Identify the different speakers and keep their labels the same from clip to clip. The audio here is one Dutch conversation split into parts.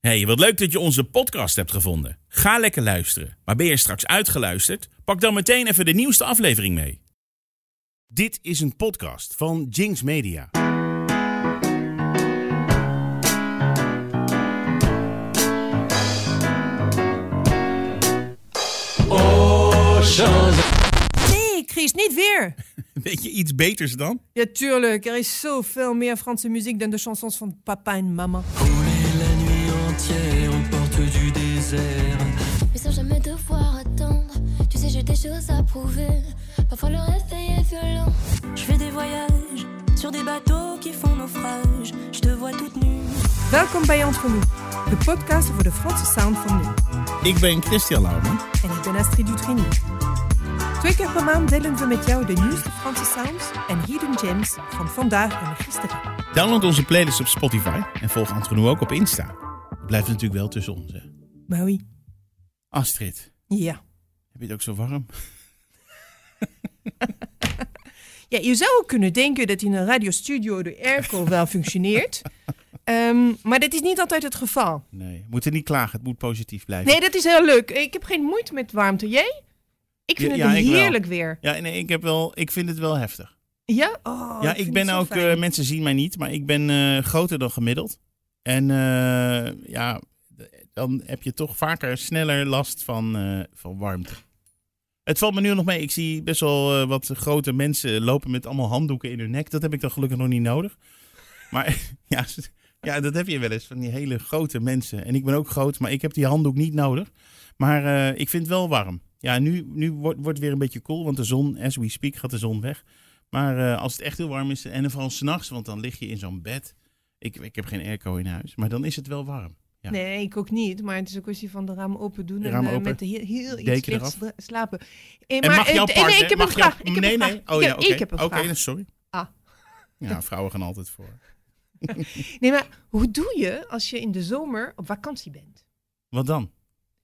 Speaker 1: hey, wat leuk dat je onze podcast hebt gevonden. Ga lekker luisteren. Maar ben je straks uitgeluisterd? Pak dan meteen even de nieuwste aflevering mee.
Speaker 2: Dit is een podcast van Jinx Media.
Speaker 3: Nee, Chris, niet weer.
Speaker 1: Weet je iets beters dan?
Speaker 3: Ja, tuurlijk. Er is zoveel meer Franse muziek dan de chansons van papa en mama.
Speaker 4: Rouler la nuit entière aux portes du désert.
Speaker 5: mais sans jamais devoir attendre. Tu sais, j'ai des choses à prouver. Parfois le réveil est violent.
Speaker 6: Je fais des voyages sur des bateaux qui font naufrage. Je te vois toute nue.
Speaker 3: Welkom bij Entre Nous, de podcast over de Franse sound van nu.
Speaker 1: Ik ben Christian Lauwman.
Speaker 3: En ik ben Astrid Dutrini. Twee keer per maand delen we met jou de nieuwste Franse sounds en hidden gems van vandaag en gisteren.
Speaker 1: Download onze playlist op Spotify en volg Antronou ook op Insta.
Speaker 2: Blijft natuurlijk wel tussen ons. hè.
Speaker 3: Maar oui.
Speaker 1: Astrid,
Speaker 3: Ja.
Speaker 1: heb je het ook zo warm?
Speaker 3: Ja, je zou ook kunnen denken dat in een radiostudio de airco wel functioneert. Ehm, maar dat is niet altijd het geval.
Speaker 2: Nee, we moeten niet klagen. Het moet positief blijven.
Speaker 3: Nee, dat is heel leuk. Ik heb geen moeite met warmte. Jij? Ik vind
Speaker 2: Ja,
Speaker 3: het
Speaker 2: ja, ik wel.
Speaker 3: heerlijk weer.
Speaker 2: Ja, nee, ik, heb wel, ik vind het wel heftig.
Speaker 3: Ja? Oh,
Speaker 2: ja,
Speaker 3: vind
Speaker 2: ik ben
Speaker 3: het zo
Speaker 2: ook...
Speaker 3: fijn.
Speaker 2: eh, mensen zien mij niet, maar ik ben eh, groter dan gemiddeld. En eh, ja, dan heb je toch vaker sneller last van, eh, van warmte. Het valt me nu nog mee. Ik zie best wel eh, wat grote mensen lopen met allemaal handdoeken in hun nek. Dat heb ik dan gelukkig nog niet nodig. Maar ja, ze- ja, dat heb je wel eens van die hele grote mensen. En ik ben ook groot, maar ik heb die handdoek niet nodig. Maar eh, ik vind het wel warm. Ja, nu, nu wordt wordt het weer een beetje koel, want de zon, as we speak, gaat de zon weg. Maar eh, als het echt heel warm is, en vooral s'nachts, want dan lig je in zo'n bed. Ik, ik heb geen airco in huis, maar dan is het wel warm. ja.
Speaker 3: Nee, ik ook niet. Maar het is een kwestie van de ramen open doen.
Speaker 2: De
Speaker 3: en
Speaker 2: ramen
Speaker 3: eh,
Speaker 2: open.
Speaker 3: met de heel, heel
Speaker 2: Deken
Speaker 3: iets slecht
Speaker 2: eraf.
Speaker 3: sla- slapen. Eh,
Speaker 2: En mag
Speaker 3: eh,
Speaker 2: jouw
Speaker 3: nee,
Speaker 2: partner...
Speaker 3: nee, ik heb
Speaker 2: mag
Speaker 3: een
Speaker 2: jouw-
Speaker 3: vraag. Ik heb
Speaker 2: nee,
Speaker 3: een
Speaker 2: nee.
Speaker 3: vraag.
Speaker 2: Oh ja, oké.
Speaker 3: Ik heb een
Speaker 2: Oké,
Speaker 3: vraag.
Speaker 2: sorry.
Speaker 3: Ah.
Speaker 2: Ja, vrouwen gaan altijd voor.
Speaker 3: Nee, maar hoe doe je als je in de zomer op vakantie bent?
Speaker 2: Wat dan?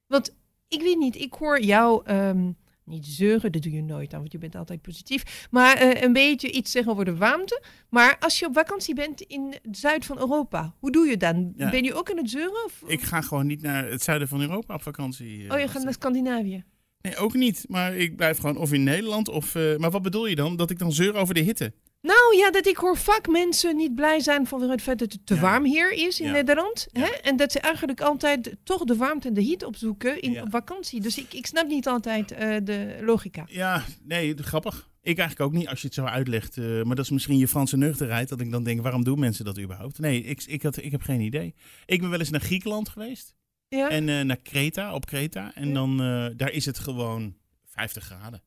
Speaker 3: Want ik weet niet, ik hoor jou ehm, niet zeuren, dat doe je nooit aan, want je bent altijd positief. Maar eh, een beetje iets zeggen over de warmte. Maar als je op vakantie bent in het zuid van Europa, hoe doe je dan?
Speaker 2: Ja.
Speaker 3: Ben je ook aan het zeuren? Of...
Speaker 2: Ik ga gewoon niet naar het zuiden van Europa op vakantie. eh,
Speaker 3: Oh, je gaat naar Scandinavië.
Speaker 2: Nee, ook niet. Maar ik blijf gewoon of in Nederland of... eh, maar wat bedoel je dan? Dat ik dan zeur over de hitte?
Speaker 3: Nou ja, dat ik hoor vaak mensen niet blij zijn vanwege het feit dat het te
Speaker 2: Ja.
Speaker 3: warm hier is in
Speaker 2: Ja.
Speaker 3: Nederland.
Speaker 2: Ja.
Speaker 3: Hè? En dat ze eigenlijk altijd toch de warmte en de hitte opzoeken in
Speaker 2: Ja.
Speaker 3: op vakantie. Dus ik, ik snap niet altijd eh, de logica.
Speaker 2: Ja, nee, grappig. Ik eigenlijk ook niet, als je het zo uitlegt. eh, maar dat is misschien je Franse nuchterheid. Dat ik dan denk, waarom doen mensen dat überhaupt? Nee, ik, ik, had, ik heb geen idee. Ik ben wel eens naar Griekenland geweest.
Speaker 3: Ja?
Speaker 2: En eh, naar Kreta, op Kreta. En dan, eh, daar is het gewoon 50 graden.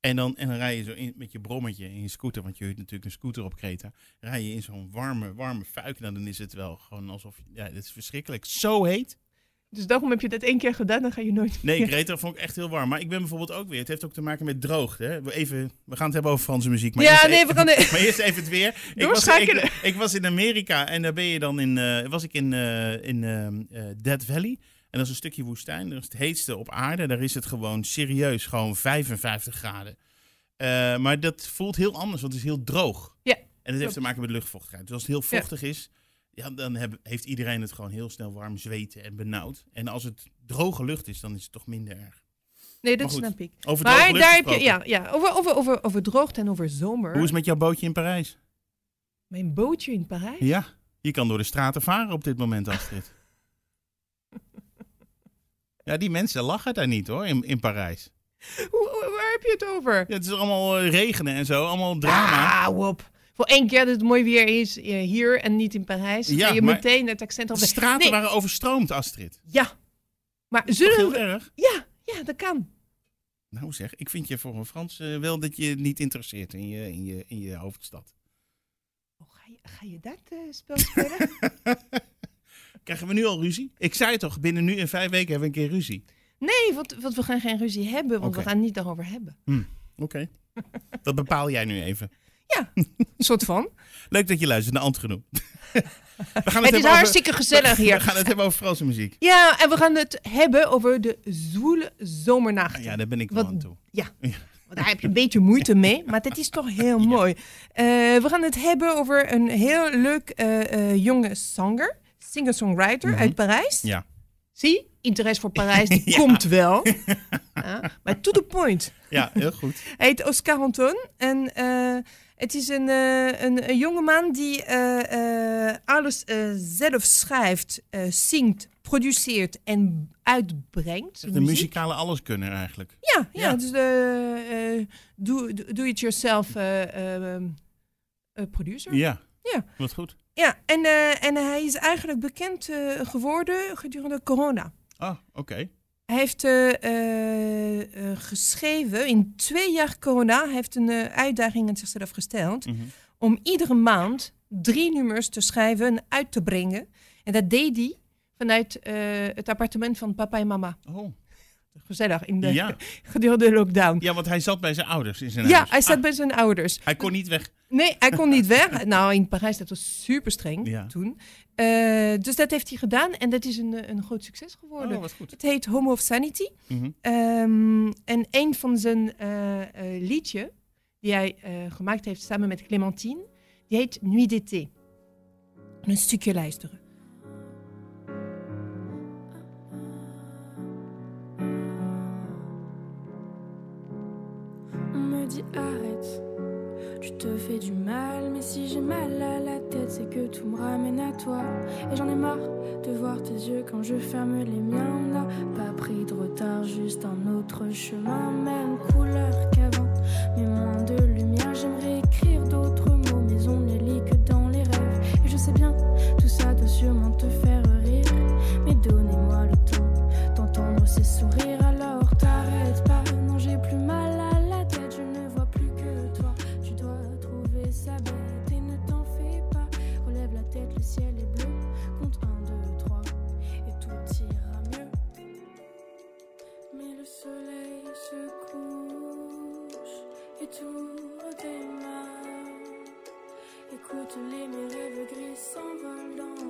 Speaker 2: En dan, en dan rij je zo in, met je brommetje in je scooter, want je hebt natuurlijk een scooter op Kreta. Rij je in zo'n warme, warme fuik. Nou, dan is het wel gewoon alsof, ja, dit is verschrikkelijk. Zo heet.
Speaker 3: Dus daarom heb je dat één keer gedaan, dan ga je nooit
Speaker 2: Nee,
Speaker 3: meer.
Speaker 2: Kreta vond ik echt heel warm. Maar ik ben bijvoorbeeld ook weer, het heeft ook te maken met droog. Hè? We Even, we gaan het hebben over Franse muziek. Maar
Speaker 3: Ja,
Speaker 2: eerst
Speaker 3: nee,
Speaker 2: even-
Speaker 3: we gaan de-
Speaker 2: Maar eerst even het weer. Ik was,
Speaker 3: Doorschakelen.
Speaker 2: ik, ik was in Amerika en daar ben je dan in, eh, was ik in, eh, in ehm, eh, Dead Valley. En dat is een stukje woestijn. Dat is het heetste op aarde. Daar is het gewoon serieus, gewoon 55 graden. Eh, maar dat voelt heel anders, want het is heel droog.
Speaker 3: Ja,
Speaker 2: En dat heeft
Speaker 3: klopt.
Speaker 2: te maken met luchtvochtigheid. Dus als het heel vochtig is, ja, dan heb- heeft iedereen het gewoon heel snel warm, zweten en benauwd. En als het droge lucht is, dan is het toch minder erg.
Speaker 3: Nee,
Speaker 2: Maar
Speaker 3: dat
Speaker 2: goed,
Speaker 3: snap ik.
Speaker 2: Over droge
Speaker 3: Maar
Speaker 2: lucht
Speaker 3: daar heb je,
Speaker 2: gesproken.
Speaker 3: ja, ja over, over, over, over droogte en over zomer.
Speaker 2: Hoe is het met jouw bootje in Parijs?
Speaker 3: Mijn bootje in Parijs?
Speaker 2: Ja, je kan door de straten varen op dit moment, Astrid. ja, die mensen lachen daar niet hoor, in, in Parijs.
Speaker 3: Hoe, hoe- waar heb je het over?
Speaker 2: Ja, het is allemaal eh, regenen en zo, allemaal drama.
Speaker 3: Ah, op. Voor één keer dat het mooi weer is eh, hier en niet in Parijs.
Speaker 2: Ja,
Speaker 3: ga je
Speaker 2: maar
Speaker 3: meteen het accent op
Speaker 2: de straten
Speaker 3: nee,
Speaker 2: waren overstroomd, Astrid.
Speaker 3: Ja. Maar
Speaker 2: Toch
Speaker 3: zullen
Speaker 2: heel
Speaker 3: we...
Speaker 2: erg.
Speaker 3: Ja, ja, dat kan.
Speaker 2: Nou zeg, ik vind je voor een Frans eh, wel dat je het niet interesseert in je, in je, in je hoofdstad.
Speaker 3: Oh, ga, je, ga je dat eh, spel spelen?
Speaker 2: Krijgen we nu al ruzie? Ik zei toch, binnen nu en vijf weken hebben we een keer ruzie.
Speaker 3: nee, want, want we gaan geen ruzie hebben, want
Speaker 2: Oké.
Speaker 3: we gaan het niet daarover hebben.
Speaker 2: Oké. Dat bepaal jij nu even.
Speaker 3: Een soort van.
Speaker 2: Leuk dat je luistert naar Antgenoem. we gaan het,
Speaker 3: het
Speaker 2: hebben
Speaker 3: is
Speaker 2: over-
Speaker 3: hartstikke gezellig
Speaker 2: We
Speaker 3: hier.
Speaker 2: gaan het hebben over Franse muziek.
Speaker 3: Ja, en we gaan het hebben over de zwoele zomernachten.
Speaker 2: Ja, daar ben ik wel
Speaker 3: Wat-
Speaker 2: aan toe.
Speaker 3: Ja.
Speaker 2: Ja.
Speaker 3: Want daar heb je een beetje moeite mee, maar dat is toch heel mooi. Eh, we gaan het hebben over een heel leuk eh, eh, jonge zanger, singer-songwriter uit Parijs.
Speaker 2: Ja.
Speaker 3: Zie, interesse voor Parijs die komt wel. Ja, maar to the point.
Speaker 2: Ja, heel goed.
Speaker 3: Hij heet Oscar Anton. En eh, het is een, eh, een, een jongeman die eh, eh, alles eh, zelf schrijft, eh, zingt, produceert en uitbrengt.
Speaker 2: De muzikale alleskunner eigenlijk.
Speaker 3: Ja, ja,
Speaker 2: Ja.
Speaker 3: dus de eh, do, do- do it yourself eh, eh, ehm, eh, producer.
Speaker 2: Ja.
Speaker 3: Ja.
Speaker 2: Wat goed.
Speaker 3: Ja, en, eh, en hij is eigenlijk bekend eh, geworden gedurende corona.
Speaker 2: Ah, oké.
Speaker 3: Hij heeft eh, eh, eh, geschreven, in twee jaar corona, hij heeft een eh, uitdaging aan zichzelf gesteld.
Speaker 2: Mhm.
Speaker 3: Om iedere maand drie nummers te schrijven en uit te brengen. En dat deed hij vanuit eh, het appartement van papa en mama.
Speaker 2: Oh.
Speaker 3: Gezellig, in de,
Speaker 2: Ja.
Speaker 3: gedurende de lockdown.
Speaker 2: ja, want hij zat bij zijn ouders in zijn
Speaker 3: Ja,
Speaker 2: huis.
Speaker 3: hij zat
Speaker 2: Ah,
Speaker 3: bij zijn ouders.
Speaker 2: hij kon niet weg.
Speaker 3: Nee, hij kon niet weg. Nou, in Parijs, dat was super streng
Speaker 2: Ja.
Speaker 3: toen. Eh, dus dat heeft hij gedaan en dat is een, eh, een groot succes geworden.
Speaker 2: Oh, wat goed.
Speaker 3: Het heet Home of Sanity.
Speaker 2: Mhm.
Speaker 3: Ehm, en een van zijn eh, eh, liedje die hij eh, gemaakt heeft samen met Clémentine, die heet Nuit d'été. Een stukje luisteren.
Speaker 6: On me dit arrête, tu te fais du mal, mais si j'ai mal à la tête, c'est que tout me ramène à toi. Et j'en ai marre de voir tes yeux quand je ferme les miens. On n'a pas pris de retard, juste un autre chemin, même couleur qu'avant, mais moins de lumière. J'aimerais écrire d'autres mots, mais on ne les lit que dans les rêves. Et je sais bien, tout ça doit sûrement te faire rire, mais donnez-moi le temps d'entendre ses sourires alors t'arrête pas non j'ai plus mal à la tête je ne vois plus que toi tu dois trouver sa bête et ne t'en fais pas relève la tête le ciel est bleu compte 1 2 3 et tout ira mieux mais le soleil se couche et tout redémarre Écoute les mes rêves gris s'envolent dans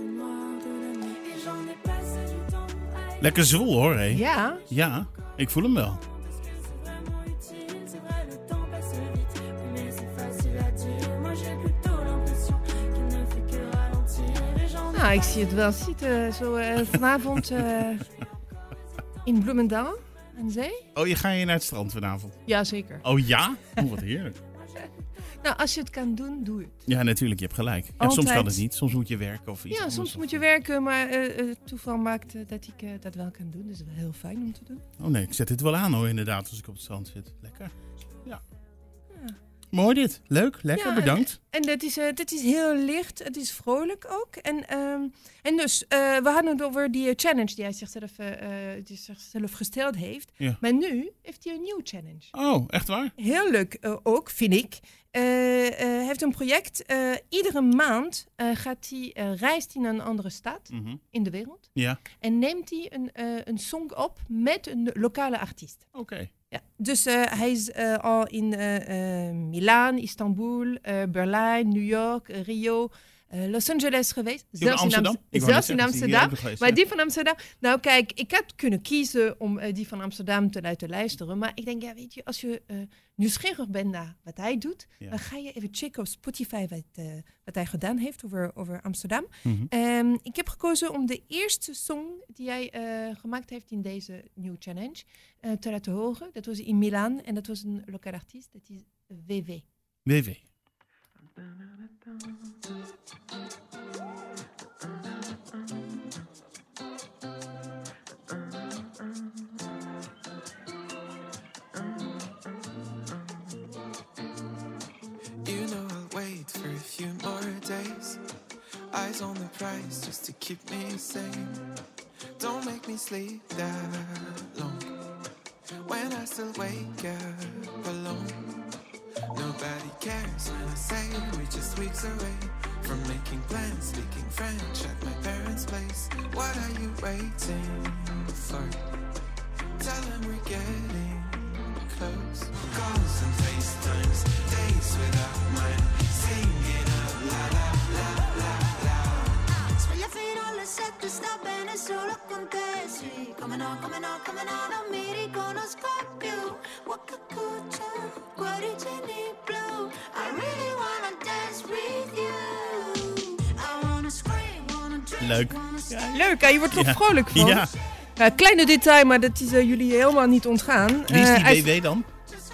Speaker 6: le noir de la nuit Et j'en ai passé du temps à
Speaker 2: Lekker zwoel hoor, hé.
Speaker 3: Ja,
Speaker 2: Ja, ik voel hem wel.
Speaker 6: Parce que c'est vraiment utile, c'est vrai, le temps passe vite. Oui, mais c'est facile à dire. Moi, j'ai plutôt l'impression qu'il ne fait que ralentir. Et j'en ai
Speaker 3: nou, ik zie het wel zitten. Zo eh, vanavond eh, in Bloemendaal aan zee.
Speaker 2: Oh, je ga je naar het strand vanavond?
Speaker 3: Jazeker.
Speaker 2: Oh ja? Oh, wat heerlijk.
Speaker 3: Nou, als je het kan doen, doe het.
Speaker 2: Ja, natuurlijk, je hebt gelijk. Ja,
Speaker 3: Altijd.
Speaker 2: soms kan het niet. Soms moet je werken of iets
Speaker 3: Ja,
Speaker 2: anders
Speaker 3: soms
Speaker 2: of-
Speaker 3: moet je werken, maar eh, eh, toeval maakt eh, dat ik eh, dat wel kan doen. Dus dat is wel heel fijn om te doen.
Speaker 2: Oh nee, ik zet dit wel aan hoor, inderdaad, als ik op het strand zit. Lekker. Ja. Mooi dit. Leuk, lekker,
Speaker 3: Ja, en-
Speaker 2: bedankt.
Speaker 3: En dat is, eh, dat is heel licht, het is vrolijk ook. En, ehm, en dus, eh, we hadden het over die eh, challenge die hij zichzelf, eh, eh, die zichzelf gesteld heeft.
Speaker 2: Ja.
Speaker 3: Maar nu heeft hij een nieuwe challenge.
Speaker 2: Oh, echt waar?
Speaker 3: Heel leuk eh, ook, vind ik. Eh, eh, Hij heeft een project. eh, iedere maand eh, gaat hij, eh, reist hij naar een andere stad
Speaker 2: Mhm.
Speaker 3: in de wereld.
Speaker 2: Ja,
Speaker 3: En neemt hij een, eh, een song op met een lokale artiest.
Speaker 2: oké.
Speaker 3: Ja, dus eh, hij is eh, al in eh, eh, Milaan, Istanbul, eh, Berlijn, New York, eh, Rio, eh, Los Angeles geweest.
Speaker 2: Die van Amsterdam?
Speaker 3: In
Speaker 2: Ik
Speaker 3: Amst-
Speaker 2: wou net
Speaker 3: zelfs
Speaker 2: zeggen,
Speaker 3: in
Speaker 2: die hier
Speaker 3: Amsterdam.
Speaker 2: ook nog geweest,
Speaker 3: Maar
Speaker 2: ja.
Speaker 3: die van Amsterdam. Nou, kijk, ik had kunnen kiezen om eh, die van Amsterdam te laten luisteren. Maar ik denk, ja, weet je, als je eh, nieuwsgierig bent naar wat hij doet,
Speaker 2: Ja.
Speaker 3: dan ga je even checken op Spotify wat, eh, wat hij gedaan heeft over, over Amsterdam.
Speaker 2: Mhm.
Speaker 3: Ehm, ik heb gekozen om de eerste song die hij eh, gemaakt heeft in deze New Challenge eh, te laten horen. Dat was in Milaan en dat was een lokaal artiest. Dat is WW.
Speaker 2: WW.
Speaker 7: You know I'll wait for a few more days. Eyes on the prize just to keep me sane. Don't make me sleep that long. When I still wake up alone. Nobody cares when I say we're just weeks away from making plans, speaking French at my parents' place. What are you waiting for? Tell them we're getting close. Calls and FaceTimes, days without mine, singing out loud.
Speaker 8: Sveglia fino alle sette, sta bene solo con te, sì Come no, come no, come no, non mi riconosco più Wakakucha, cuoricini blu I really wanna dance with you I wanna scream, wanna dream
Speaker 2: leuk.
Speaker 3: Leuk, hè? je wordt toch
Speaker 2: Ja.
Speaker 3: vrolijk van.
Speaker 2: Ja,
Speaker 3: Ja, Nou, kleine detail, maar dat is eh, jullie helemaal niet ontgaan.
Speaker 2: wie is
Speaker 3: Eh, hij-
Speaker 2: die DD dan?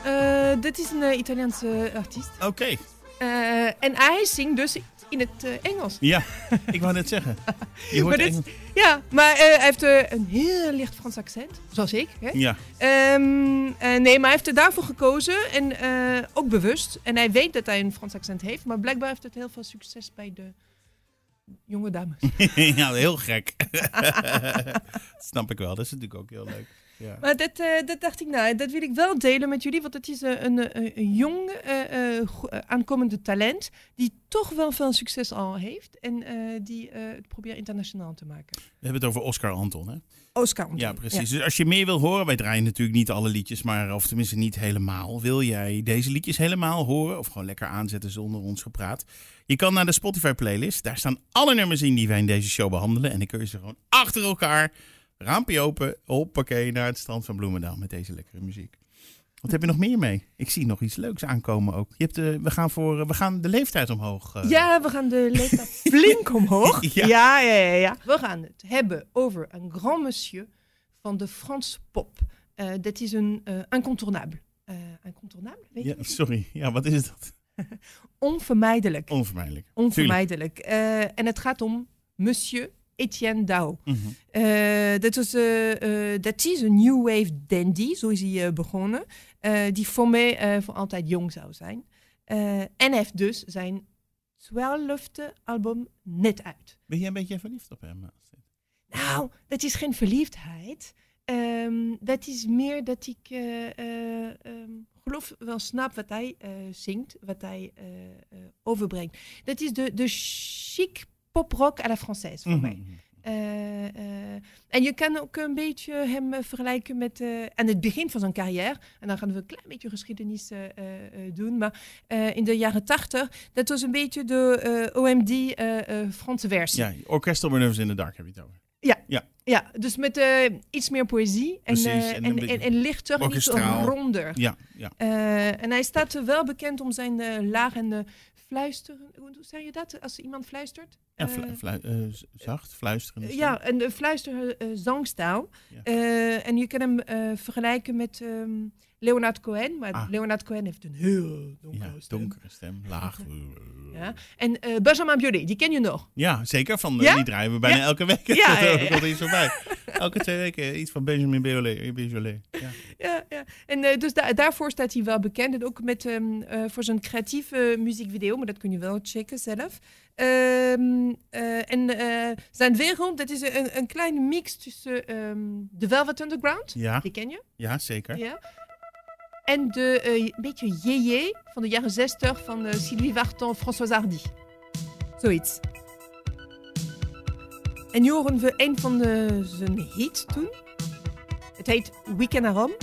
Speaker 3: eh, dit is een eh, Italiaanse artiest.
Speaker 2: Oké,
Speaker 3: Eh, en hij zingt dus in het eh, Engels.
Speaker 2: ja. Ik wou net zeggen. Je hoort
Speaker 3: Maar dit-
Speaker 2: Engels.
Speaker 3: Ja, maar eh, hij heeft eh, een heel licht Frans accent, zoals ik. Hè?
Speaker 2: Ja,
Speaker 3: Ehm, eh, nee, maar hij heeft er daarvoor gekozen en eh, ook bewust. En hij weet dat hij een Frans accent heeft, maar blijkbaar heeft het heel veel succes bij de jonge dames.
Speaker 2: ja heel gek. Dat Snap ik wel, dat is natuurlijk ook heel leuk. Ja.
Speaker 3: Maar dat, eh, dat dacht ik, nou, dat wil ik wel delen met jullie. Want het is eh, een, eh, een jong, eh, eh, go- eh, aankomende talent. die toch wel veel succes al heeft. En eh, die eh, het probeert internationaal te maken.
Speaker 2: We hebben het over Oscar Anton, hè?
Speaker 3: Oscar.
Speaker 2: Ja, precies. Dus als je meer wil horen, wij draaien natuurlijk niet alle liedjes, maar of tenminste niet helemaal. Wil jij deze liedjes helemaal horen of gewoon lekker aanzetten zonder ons gepraat? Je kan naar de Spotify playlist. Daar staan alle nummers in die wij in deze show behandelen. En dan kun je ze gewoon achter elkaar, raampje open, hoppakee, naar het strand van Bloemendaal met deze lekkere muziek. Wat heb je nog meer mee? Ik zie nog iets leuks aankomen ook. Je hebt de, we, gaan voor, eh, we gaan de leeftijd omhoog. eh.
Speaker 3: Ja, we gaan de leeftijd flink omhoog.
Speaker 2: Ja.
Speaker 3: Ja. Ja, ja, ja, We gaan het hebben over een grand monsieur van de Franse pop. Eh, dat is een eh, incontournable. Eh, incontournable? Weet
Speaker 2: Ja,
Speaker 3: je?
Speaker 2: sorry, ja, wat is dat?
Speaker 3: Onvermijdelijk.
Speaker 2: Oh, Onvermijdelijk.
Speaker 3: Onvermijdelijk. Eh, en het gaat om Monsieur Etienne Dao.
Speaker 2: Mhm.
Speaker 3: Eh, dat, was, eh, eh, dat is een New Wave dandy, zo is hij eh, begonnen. eh, die voor mij eh, voor altijd jong zou zijn. Eh, en heeft dus zijn twaalfde album net uit.
Speaker 2: Ben jij een beetje verliefd op hem?
Speaker 3: Nou, dat is geen verliefdheid. Ehm, dat is meer dat ik eh, eh, ehm, geloof wel snap wat hij eh, zingt, wat hij eh, eh, overbrengt. Dat is de, de chic poprock à la française voor mij.
Speaker 2: Mhm.
Speaker 3: Eh, eh, en je kan ook een beetje hem eh, vergelijken met eh, aan het begin van zijn carrière. En dan gaan we een klein beetje geschiedenis eh, eh, eh, doen. Maar eh, in de jaren tachtig, dat was een beetje de eh, OMD eh, eh, Franse versie.
Speaker 2: Ja, Orchestral Manoeuvres in the Dark heb je het over.
Speaker 3: Ja, dus met eh, iets meer poëzie en,
Speaker 2: Precies,
Speaker 3: eh,
Speaker 2: en een
Speaker 3: en, en,
Speaker 2: beetje
Speaker 3: en, lichter en iets
Speaker 2: orkestraal.
Speaker 3: ronder.
Speaker 2: Ja, ja.
Speaker 3: Eh, en hij staat er wel bekend om zijn eh, laag en eh, fluisteren. Hoe hoe zeg je dat als iemand fluistert?
Speaker 2: ja
Speaker 3: Eh,
Speaker 2: flu- flu- eh, z- zacht, fluisterend.
Speaker 3: ja, en de fluisteren eh, zangstijl.
Speaker 2: Ja.
Speaker 3: Eh, en je kan hem eh, vergelijken met ehm, Leonard Cohen. Maar
Speaker 2: Ah.
Speaker 3: Leonard Cohen heeft een heel donkere
Speaker 2: Ja,
Speaker 3: stem.
Speaker 2: donkere stem, laag.
Speaker 3: Ja. En eh, Benjamin Biolay, die ken je nog.
Speaker 2: Ja, zeker. Van, eh,
Speaker 3: Ja?
Speaker 2: Die draaien we bijna
Speaker 3: Ja.
Speaker 2: elke week.
Speaker 3: Ja, ja,
Speaker 2: dat
Speaker 3: ja.
Speaker 2: komt iets voorbij. Elke twee weken iets van Benjamin Biolay. Biolay. Ja.
Speaker 3: ja, ja. En eh, dus da- daarvoor staat hij wel bekend. En ook met, ehm, eh, voor zijn creatieve muziekvideo, maar dat kun je wel checken zelf. Ehm, eh, en eh, zijn weergrond, dat is een, een kleine mix tussen ehm, de Velvet Underground,
Speaker 2: Ja,
Speaker 3: die ken je,
Speaker 2: ja, zeker.
Speaker 3: ja. en de eh, een beetje JJ van de jaren 60 van eh, Sylvie Vartan, François Hardy. Zoiets. En nu horen we een van de, zijn hits toen. Het heet Weekend at Home.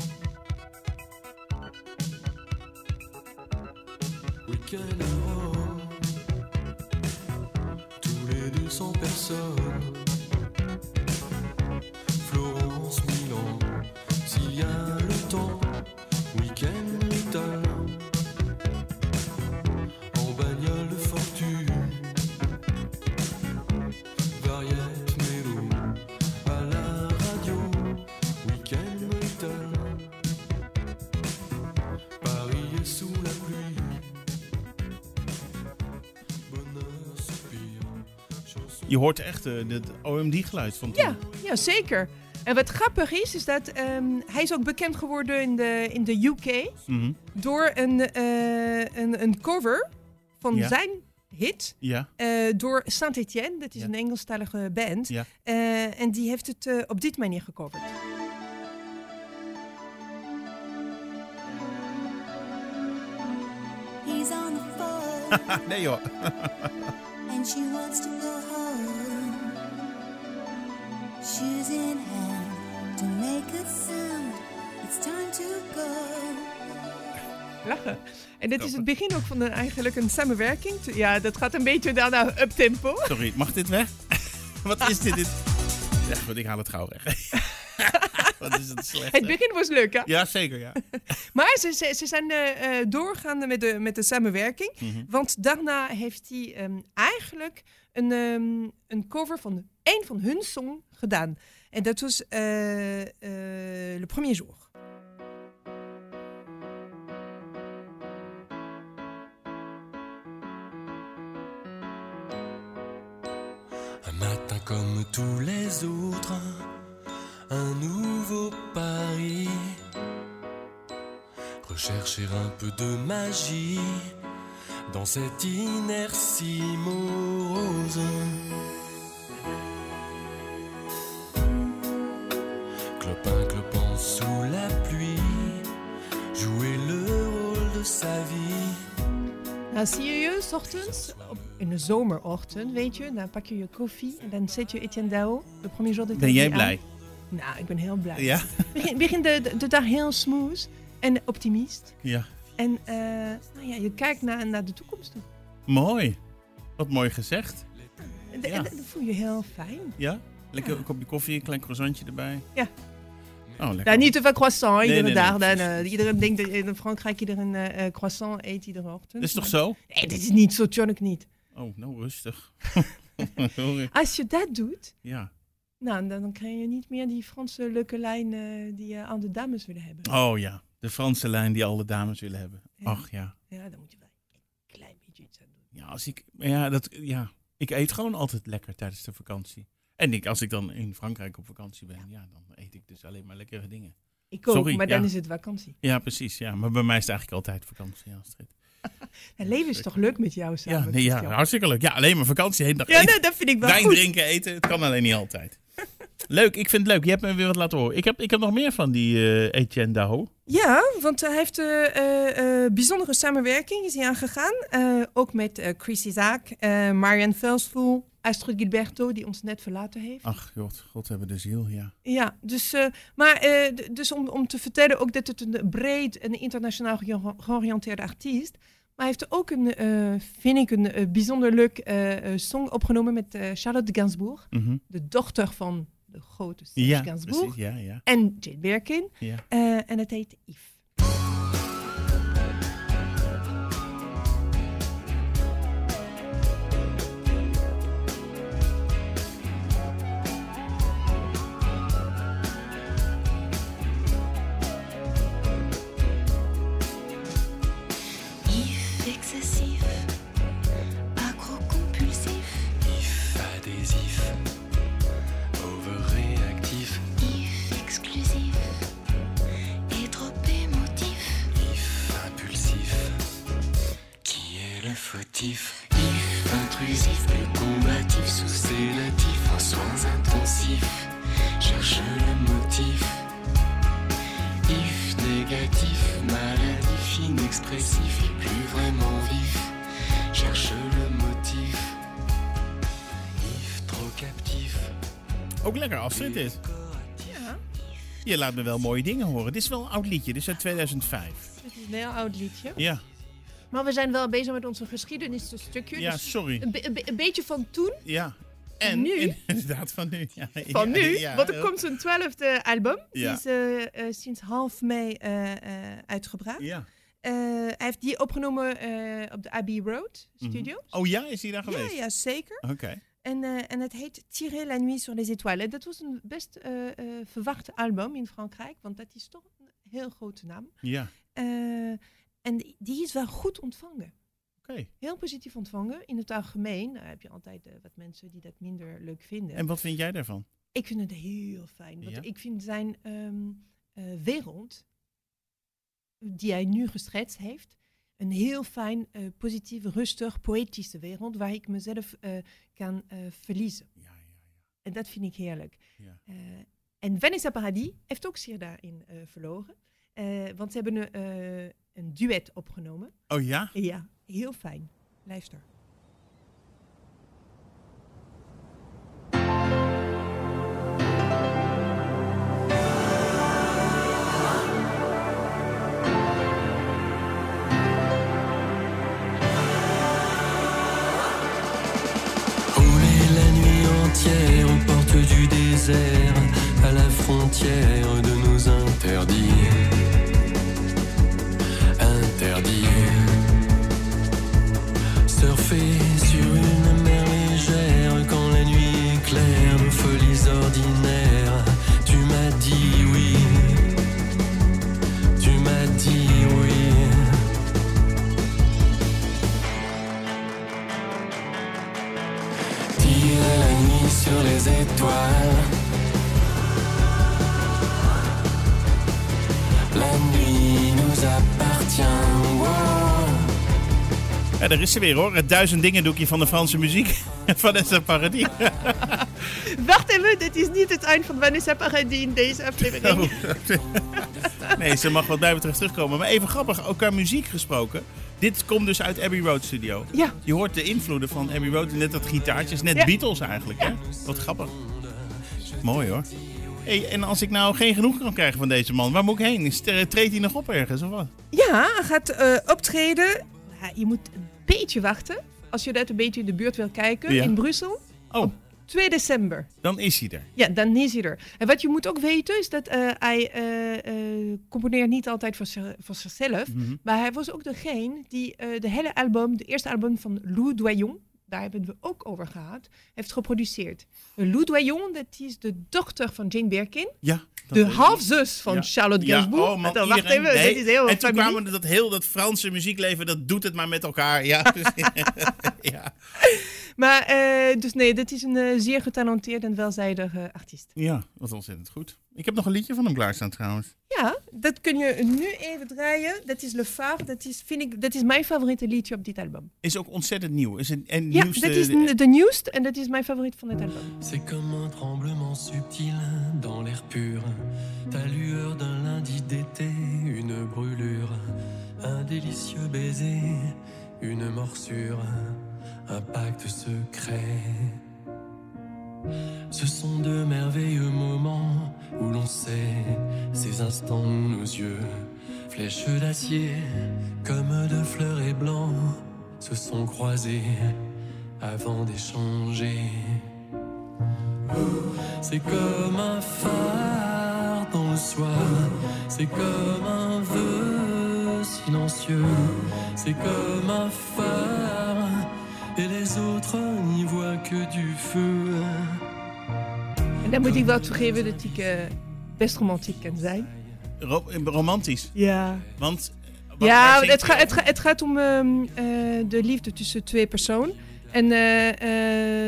Speaker 4: Week-end à Rome. Tous les deux sans personne. Florence, Milan, s'il y a le temps. Week-end métal. En bagnole de fortune. Variette Mélo. À la radio. Week-end métal. Paris est sous la pluie. Bonheur soupir, chanson.
Speaker 2: Je hoort echt eh, het OMD-geluid van toen.
Speaker 3: Ja, ja, zeker. En wat grappig is, is dat ehm, hij is ook bekend geworden in de, in de UK
Speaker 2: Mhm.
Speaker 3: door een, eh, een, een cover van
Speaker 2: Ja.
Speaker 3: zijn hit
Speaker 2: ja.
Speaker 3: eh, door Saint-Etienne. Dat is
Speaker 2: Ja.
Speaker 3: een Engelstalige band.
Speaker 2: Ja.
Speaker 3: Eh, en die heeft het eh, op dit manier gecoverd.
Speaker 8: He's on the phone
Speaker 2: Ah, nee joh.
Speaker 8: and she wants to go home. Shoes in hand, to make a sound. It's time to go.
Speaker 3: Lachen. En dit is het begin ook van een, eigenlijk een samenwerking. Ja, dat gaat een beetje daarna up tempo.
Speaker 2: Sorry, mag dit weg? wat is dit? dit? Ja, goed, ik haal het gauw weg. wat is het slecht.
Speaker 3: Het
Speaker 2: hè?
Speaker 3: begin was leuk, hè?
Speaker 2: Ja, zeker, ja.
Speaker 3: Maar ze, ze, ze zijn eh, eh, doorgaande met de, met de samenwerking. Want daarna heeft hij ehm, eigenlijk een, ehm, een cover van één van hun song gedaan. En dat was eh, eh, Le Premier Jour.
Speaker 4: Un matin comme tous les autres, un nouveau pari. Rechercher un peu de magie dans cette inertie morose. Clopin clopant sous la pluie, jouer le rôle de sa vie.
Speaker 3: Nou, serieus, 's ochtends, op- in de zomerochtend, weet je, dan pak je je koffie en dan zet je Etienne Dao, Le Premier Jour. de
Speaker 2: Ben jij
Speaker 3: Titi aan.
Speaker 2: blij?
Speaker 3: Nou, ik ben heel blij.
Speaker 2: Ja?
Speaker 3: Begin, begin de, de, de dag heel smooth en optimist.
Speaker 2: Ja.
Speaker 3: En eh, nou ja, je kijkt naar, naar de toekomst toe.
Speaker 2: Mooi. Wat mooi gezegd.
Speaker 3: En de-
Speaker 2: Ja.
Speaker 3: en de- dat voel je heel fijn.
Speaker 2: Ja? Lekker
Speaker 3: Ja.
Speaker 2: een kopje koffie, een klein croissantje erbij.
Speaker 3: Ja.
Speaker 2: Oh, lekker.
Speaker 3: Nou, niet te veel croissant
Speaker 2: Nee,
Speaker 3: iedere
Speaker 2: nee,
Speaker 3: dag.
Speaker 2: nee.
Speaker 3: Dan, eh, iedereen denkt dat in Frankrijk iedereen eh, eh, croissant eet iedere ochtend.
Speaker 2: Dat is toch
Speaker 3: Maar-
Speaker 2: zo?
Speaker 3: Nee, dit is niet zo, John, ik niet.
Speaker 2: Oh, nou rustig. Sorry.
Speaker 3: Als je dat doet,
Speaker 2: Ja.
Speaker 3: nou, dan, dan krijg je niet meer die Franse leuke lijn eh, die eh, aan de dames willen hebben.
Speaker 2: Oh ja. De Franse lijn die alle dames willen hebben.
Speaker 3: Ja.
Speaker 2: Ach ja.
Speaker 3: Ja, dan moet je wel een klein beetje iets aan doen.
Speaker 2: Ja, als ik, ja, dat, ja, ik eet gewoon altijd lekker tijdens de vakantie. En ik, als ik dan in Frankrijk op vakantie ben, ja, dan eet ik dus alleen maar lekkere dingen.
Speaker 3: Ik ook,
Speaker 2: Sorry,
Speaker 3: maar dan
Speaker 2: ja.
Speaker 3: is het vakantie.
Speaker 2: Ja, precies. Ja. Maar bij mij is het eigenlijk altijd vakantie. Astrid.
Speaker 3: Het leven is toch leuk met jou samen?
Speaker 2: Ja, nee, ja,
Speaker 3: Christian?
Speaker 2: hartstikke leuk. Ja, alleen maar vakantie. Heen dag
Speaker 3: ja
Speaker 2: eten,
Speaker 3: nou, dat vind ik wel
Speaker 2: wijn
Speaker 3: goed.
Speaker 2: drinken, eten. Het kan alleen niet altijd. leuk, ik vind het leuk. Je hebt me weer wat laten horen. Ik heb, ik heb nog meer van die eh, Etienne Daho.
Speaker 3: Ja, want hij heeft eh, eh, eh, bijzondere samenwerking is hij aangegaan. Eh, ook met eh, Chris Isaac, eh Marianne Velsvoel, Astrid Gilberto, die ons net verlaten heeft.
Speaker 2: Ach, god, god hebben de ziel, ja.
Speaker 3: Ja, dus, eh, maar, eh, d- dus om, om te vertellen ook dat het een breed en internationaal geo- georiënteerde artiest. Maar hij heeft ook een, eh, vind ik, een eh, bijzonder leuk eh, eh, song opgenomen met eh, Charlotte Gainsbourg.
Speaker 2: Mhm.
Speaker 3: De dochter van de grote Serge
Speaker 2: Ja,
Speaker 3: Gainsbourg.
Speaker 2: precies. Ja, ja,
Speaker 3: En Jane Birkin.
Speaker 2: ja.
Speaker 3: Eh, en het heet Yves.
Speaker 5: If excessif, accro-compulsif,
Speaker 4: If adhésif, overréactif,
Speaker 5: if exclusif, et trop émotif,
Speaker 4: if impulsif. Qui est le fautif If intrusif, plus combatif, sous sédatif, en soins intensifs. Cherche le motif. If négatif, maladif, inexpressif, et plus vraiment vif. Cherche le motif. If trop captif.
Speaker 2: Ook lekker afzet dit. Je laat me wel mooie dingen horen. Dit is wel een oud liedje, dit is uit 2005.
Speaker 3: Het is een heel oud liedje.
Speaker 2: Ja,
Speaker 3: Maar we zijn wel bezig met onze geschiedenis, een stukje.
Speaker 2: ja
Speaker 3: dus
Speaker 2: sorry.
Speaker 3: een, be- een be- een beetje van toen,
Speaker 2: Ja.
Speaker 3: Nu?
Speaker 2: Inderdaad, van nu. Ja,
Speaker 3: van
Speaker 2: ja,
Speaker 3: nu.
Speaker 2: ja.
Speaker 3: want er komt zijn twaalfde album. Die
Speaker 2: Ja.
Speaker 3: is eh, eh, sinds half mei eh, eh, uitgebracht.
Speaker 2: Ja.
Speaker 3: Eh, hij heeft die opgenomen eh, op de Abbey Road studio.
Speaker 2: Oh ja, is hij daar geweest?
Speaker 3: Ja, ja, zeker.
Speaker 2: Oké.
Speaker 3: En, eh, en het heet Tirer la nuit sur les étoiles. En dat was een best eh, eh, verwacht album in Frankrijk, want dat is toch een heel grote naam.
Speaker 2: Ja,
Speaker 3: Eh, en die- die is wel goed ontvangen.
Speaker 2: oké.
Speaker 3: heel positief ontvangen. In het algemeen Nou, heb je altijd eh, wat mensen die dat minder leuk vinden.
Speaker 2: En wat vind jij daarvan?
Speaker 3: ik vind het heel fijn. Want
Speaker 2: Ja?
Speaker 3: ik vind zijn ehm, eh, wereld, die hij nu geschetst heeft, een heel fijn, eh, positief, rustig, poëtische wereld waar ik mezelf eh, kan eh, verliezen.
Speaker 2: Ja, ja.
Speaker 3: En dat vind ik heerlijk.
Speaker 2: Ja.
Speaker 3: Eh, en Vanessa Paradis heeft ook zeer daarin eh, verloren. Eh, want ze hebben een, eh, een duet opgenomen.
Speaker 2: Oh ja?
Speaker 3: Ja, heel fijn. Luister.
Speaker 4: Rouler la nuit entière aux portes du désert, à la frontière de nos interdits. Interdits. Surfer sur une mer légère quand la nuit est claire nous appartient. Wow.
Speaker 2: Ja, daar is ze weer hoor. Het duizend dingen doekje van de Franse muziek. Vanessa Paradis.
Speaker 3: Wacht even, dit is niet het eind van Vanessa Paradis in deze aflevering.
Speaker 2: Oh. nee, ze mag wat mij betreft terugkomen. Maar even grappig, ook qua muziek gesproken. Dit komt dus uit Abbey Road Studio.
Speaker 3: Ja.
Speaker 2: Je hoort de invloeden van Abbey Road. Net dat gitaartje is net
Speaker 3: Ja.
Speaker 2: Beatles eigenlijk. Hè? Wat grappig. Mooi hoor. Hey, en als ik nou geen genoeg kan krijgen van deze man, waar moet ik heen? Is- Treedt hij nog op ergens of wat?
Speaker 3: Ja, hij gaat eh, optreden. Ja, je moet een beetje wachten. Als je net een beetje in de buurt wil kijken,
Speaker 2: Ja.
Speaker 3: in Brussel.
Speaker 2: Oh,
Speaker 3: 2 december.
Speaker 2: dan is hij er.
Speaker 3: Ja, dan is hij er. En wat je moet ook weten is dat eh, hij eh, eh, componeert niet altijd voor, zich- voor zichzelf.
Speaker 2: Mhm.
Speaker 3: Maar hij was ook degene die eh, de hele album, de eerste album van Lou Doyon, daar hebben we het ook over gehad, heeft geproduceerd. Eh, Lou Doyon, dat is de dochter van Jane Birkin.
Speaker 2: Ja. dat
Speaker 3: De
Speaker 2: weet ik.
Speaker 3: halfzus van
Speaker 2: Ja.
Speaker 3: Charlotte
Speaker 2: Ja,
Speaker 3: Gainsbourg.
Speaker 2: oh man,
Speaker 3: Wacht
Speaker 2: iedereen-
Speaker 3: even,
Speaker 2: nee.
Speaker 3: dit is heel
Speaker 2: En toen
Speaker 3: familie.
Speaker 2: kwamen dat heel dat Franse muziekleven, dat doet het maar met elkaar. Ja, precies. ja.
Speaker 3: Maar eh, dus nee, dit is een eh, zeer getalenteerd en welzijdig eh, artiest.
Speaker 2: ja, wat ontzettend goed. Ik heb nog een liedje van hem klaarstaan trouwens.
Speaker 3: Ja, dat kun je nu even draaien. Dat is Le Phare. Dat is, vind ik, dat is mijn favoriete liedje op dit album.
Speaker 2: Is ook ontzettend nieuw. Is een, en
Speaker 3: Ja,
Speaker 2: nieuwste, eh,
Speaker 3: dat is n- de nieuwste en dat is mijn favoriet van dit album.
Speaker 4: C'est comme un tremblement subtil dans l'air pur. Ta lueur d'un lundi d'été, une brûlure. Un délicieux baiser, une morsure. Un pacte secret. Ce sont de merveilleux moments où l'on sait ces instants où nos yeux, flèches d'acier, comme de fleurs et blancs, se sont croisés avant d'échanger. C'est comme un phare dans le soir, c'est comme un vœu silencieux, c'est comme un phare, et les autres n'y voient que du feu.
Speaker 3: En dan moet ik wel toegeven dat ik eh, best romantiek kan zijn.
Speaker 2: Ro- eh, romantisch.
Speaker 3: Ja.
Speaker 2: Want. eh, wat- waar
Speaker 3: Ja,
Speaker 2: zingt
Speaker 3: het,
Speaker 2: hij
Speaker 3: ga- het,
Speaker 2: over?
Speaker 3: ga- het gaat om ehm, eh, de liefde tussen twee personen. En eh,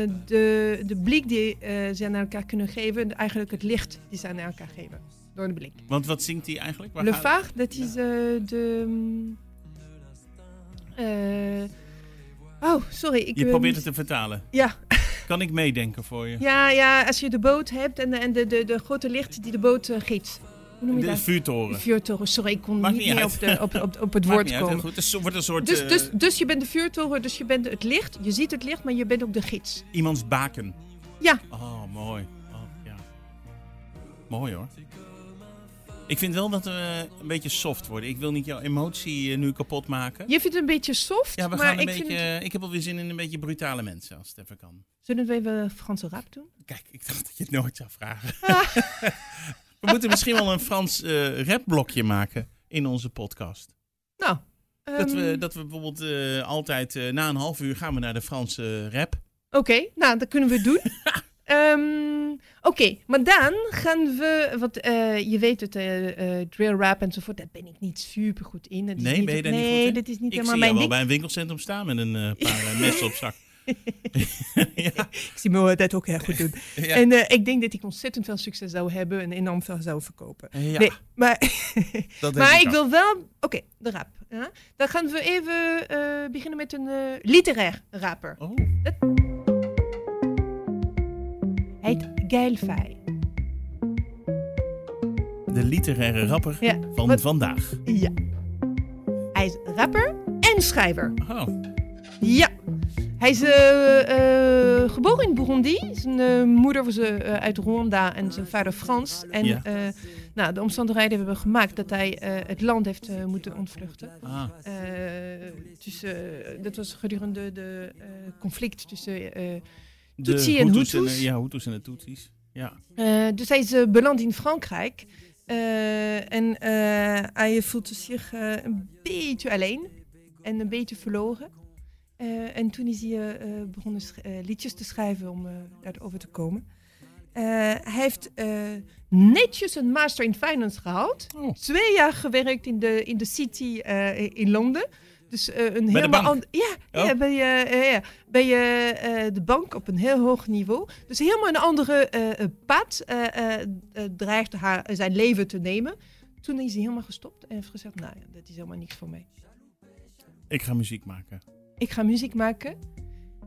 Speaker 3: eh, de, de blik die eh, ze aan elkaar kunnen geven, eigenlijk het licht die ze aan elkaar geven. Door de blik.
Speaker 2: Want wat zingt hij eigenlijk? Waar
Speaker 3: Le
Speaker 2: gaat-
Speaker 3: Phare, dat is eh, de. mm, eh, oh, sorry. Ik,
Speaker 2: Je
Speaker 3: eh,
Speaker 2: probeert het te vertalen.
Speaker 3: Ja,
Speaker 2: Kan ik meedenken voor je?
Speaker 3: ja, ja, als je de boot hebt en, en de, de, de grote licht die de boot eh, giet. Hoe noem je
Speaker 2: De
Speaker 3: dat?
Speaker 2: vuurtoren.
Speaker 3: Vuurtoren, sorry, ik kon
Speaker 2: Maakt
Speaker 3: niet
Speaker 2: niet
Speaker 3: meer
Speaker 2: uit.
Speaker 3: op, de, op, op, op het
Speaker 2: Maakt
Speaker 3: woord
Speaker 2: niet uit, heel
Speaker 3: komen.
Speaker 2: goed. Het is- wordt een soort
Speaker 3: Dus,
Speaker 2: eh,
Speaker 3: dus, dus je bent de vuurtoren, dus je bent het licht. Je ziet het licht, maar je bent ook de gids.
Speaker 2: iemands baken.
Speaker 3: Ja.
Speaker 2: Oh, mooi. Oh, ja. Mooi hoor. Ik vind wel dat we een beetje soft worden. Ik wil niet jouw emotie eh, nu kapot maken.
Speaker 3: Je vindt het een beetje soft,
Speaker 2: Ja, we
Speaker 3: maar
Speaker 2: gaan een
Speaker 3: ik
Speaker 2: beetje.
Speaker 3: vind het...
Speaker 2: Ik heb alweer zin in een beetje brutale mensen, als het even kan.
Speaker 3: Zullen we even Franse rap doen?
Speaker 2: Kijk, ik dacht dat je het nooit zou vragen. we moeten misschien wel een Frans eh rapblokje maken in onze podcast.
Speaker 3: Nou,
Speaker 2: Dat,
Speaker 3: ehm,
Speaker 2: we, dat we bijvoorbeeld eh, altijd eh, na een half uur gaan we naar de Franse eh, rap.
Speaker 3: Oké, nou, dat kunnen we doen. Ehm, Oké, maar dan gaan we, want eh, je weet het, eh, eh, drill rap enzovoort, daar ben ik niet super goed in. Dat is
Speaker 2: Nee,
Speaker 3: niet
Speaker 2: ben je
Speaker 3: het-
Speaker 2: daar niet
Speaker 3: Nee,
Speaker 2: goed in?
Speaker 3: dat is niet
Speaker 2: ik
Speaker 3: helemaal
Speaker 2: zie jou
Speaker 3: mijn
Speaker 2: wel
Speaker 3: ding.
Speaker 2: bij een winkelcentrum staan met een eh, paar eh, messen op zak. ja,
Speaker 3: Ik zie me dat ook heel goed doen. En eh, ik denk dat ik ontzettend veel succes zou hebben en enorm veel zou verkopen.
Speaker 2: Ja,
Speaker 3: Nee, maar
Speaker 2: dat denk
Speaker 3: Maar ik
Speaker 2: ook.
Speaker 3: wil wel. Oké, de rap. Ja? Dan gaan we even eh, beginnen met een eh, literair rapper.
Speaker 2: Oh,
Speaker 3: Hij heet Geilfei.
Speaker 2: de literaire rapper
Speaker 3: Ja,
Speaker 2: van
Speaker 3: wat-
Speaker 2: vandaag.
Speaker 3: Ja. Hij is rapper en schrijver.
Speaker 2: Oh,
Speaker 3: Ja. Hij is eh, eh, geboren in Burundi. Zijn eh, moeder was eh, uit Rwanda en zijn vader Frans. En
Speaker 2: Ja.
Speaker 3: eh, nou, de omstandigheden hebben gemaakt dat hij eh, het land heeft eh, moeten ontvluchten.
Speaker 2: ah,
Speaker 3: Eh, tussen, dat was gedurende de eh, conflict tussen eh,
Speaker 2: de
Speaker 3: Tutsi en
Speaker 2: Hutus
Speaker 3: Hutus.
Speaker 2: de- ja, Hutus en de Tutsis. Ja.
Speaker 3: Eh, dus hij is eh, beland in Frankrijk. Eh, en eh, hij voelt zich eh, een beetje alleen en een beetje verloren. Eh, en toen is hij eh, eh, begonnen sch- eh, liedjes te schrijven om eh, daarover te komen. Eh, hij heeft eh, netjes een master in finance gehaald.
Speaker 2: Oh.
Speaker 3: Twee jaar gewerkt in de, in de city eh, in Londen. Dus eh, een helemaal
Speaker 2: bank?
Speaker 3: ander- Ja, ja,
Speaker 2: Oh.
Speaker 3: bij, eh, eh, ja, bij eh, eh, de bank op een heel hoog niveau. Dus helemaal een andere eh, eh, pad eh, eh, eh, dreigt haar, zijn leven te nemen. Toen is hij helemaal gestopt en heeft gezegd, nou ja, dat is helemaal niks voor mij.
Speaker 2: Ik ga muziek maken.
Speaker 3: Ik ga muziek maken.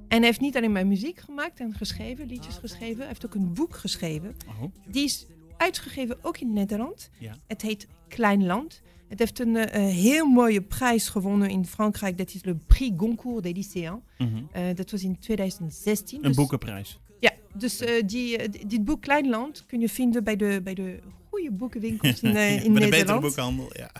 Speaker 3: En hij heeft niet alleen maar muziek gemaakt en geschreven, liedjes geschreven. Hij heeft ook een boek geschreven.
Speaker 2: Oh,
Speaker 3: Die is uitgegeven ook in Nederland.
Speaker 2: Ja.
Speaker 3: Het heet Klein Land. Het heeft een eh, eh, heel mooie prijs gewonnen in Frankrijk. Dat is le Prix Goncourt des lycéens.
Speaker 2: mhm.
Speaker 3: Eh, dat was in 2016.
Speaker 2: Een
Speaker 3: dus-
Speaker 2: boekenprijs.
Speaker 3: Ja, dus eh, die, eh, di- dit boek Klein Land kun je vinden bij de, bij de goede boekenwinkels in, eh,
Speaker 2: Bij de
Speaker 3: in
Speaker 2: betere
Speaker 3: Nederland.
Speaker 2: boekhandel, ja.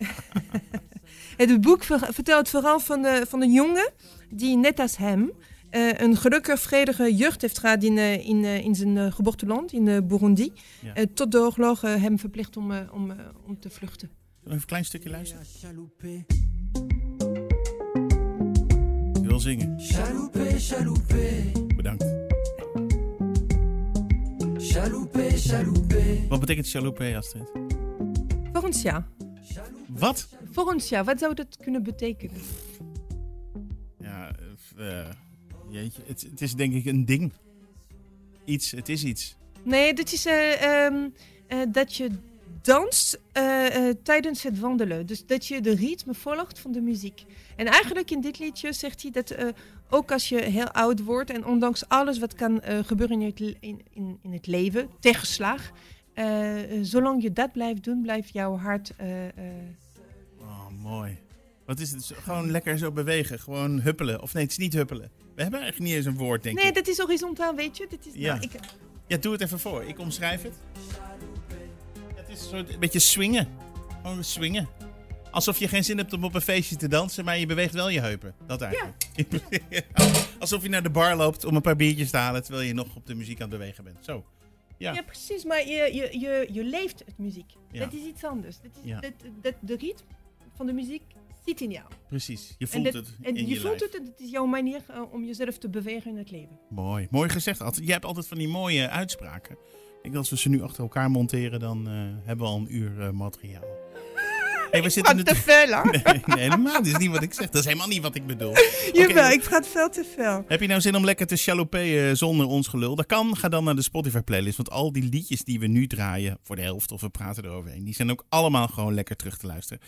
Speaker 3: Het boek ver- vertelt vooral van, de, van een jongen die, net als hem, eh, een gelukkig, vredige jeugd heeft gehad in, eh, in, eh, in zijn eh, geboorteland, in eh, Burundi.
Speaker 2: Ja.
Speaker 3: Eh, tot de oorlog eh, hem verplicht om, eh, om, eh, om te vluchten.
Speaker 2: Even een klein stukje luisteren. Je wil zingen. Bedankt. Wat betekent chaloupé, Astrid?
Speaker 3: Voor ons ja.
Speaker 2: Wat?
Speaker 3: Voor ons ja. Wat zou dat kunnen betekenen?
Speaker 2: Ja, eh, jeetje. Het, het is denk ik een ding. Iets, het is iets.
Speaker 3: Nee, dat is eh, ehm, eh, dat je danst eh, eh, tijdens het wandelen. Dus dat je de ritme volgt van de muziek. En eigenlijk in dit liedje zegt hij dat eh, ook als je heel oud wordt en ondanks alles wat kan eh, gebeuren in het, le- in, in, in het leven, tegenslag, eh, eh, zolang je dat blijft doen, blijft jouw hart. eh, eh,
Speaker 2: Oh, mooi. Wat is het? Gewoon lekker zo bewegen. Gewoon huppelen. Of nee, het is niet huppelen. We hebben eigenlijk niet eens een woord, denk
Speaker 3: Nee,
Speaker 2: ik.
Speaker 3: dat is horizontaal, weet je? Dat is,
Speaker 2: Ja.
Speaker 3: nou, ik,
Speaker 2: Ja, doe het even voor. Ik omschrijf het. Het is een soort een beetje swingen. Gewoon swingen. Alsof je geen zin hebt om op een feestje te dansen, maar je beweegt wel je heupen. Dat eigenlijk. Oh, Alsof je naar de bar loopt om een paar biertjes te halen, terwijl je nog op de muziek aan het bewegen bent. Zo. Ja.
Speaker 3: Ja, precies, maar je, je, je, je leeft het muziek.
Speaker 2: Ja.
Speaker 3: Dat is iets anders. Dat is,
Speaker 2: Ja.
Speaker 3: dat, dat, de ritme van de muziek zit in jou.
Speaker 2: Precies. Je
Speaker 3: en
Speaker 2: voelt
Speaker 3: dat-
Speaker 2: het
Speaker 3: en
Speaker 2: in
Speaker 3: je,
Speaker 2: je,
Speaker 3: voelt
Speaker 2: lijf.
Speaker 3: het, en het is jouw manier eh, om jezelf te bewegen in het leven.
Speaker 2: Mooi. Mooi gezegd. Altijd. Jij hebt altijd van die mooie uitspraken. Ik denk dat als we ze nu achter elkaar monteren, dan eh, hebben we al een uur eh, materiaal. Hey, we zitten natuurlijk-
Speaker 3: veel, hè?
Speaker 2: Nee, nee, helemaal. Dat is niet wat ik zeg. Dat is helemaal niet wat ik bedoel.
Speaker 3: Jawel,
Speaker 2: Oké.
Speaker 3: ik praat veel te veel.
Speaker 2: Heb je nou zin om lekker te chaloupéen zonder ons gelul? Dat kan. Ga dan naar de Spotify playlist. Want al die liedjes die we nu draaien, voor de helft of we praten eroverheen, die zijn ook allemaal gewoon lekker terug te luisteren.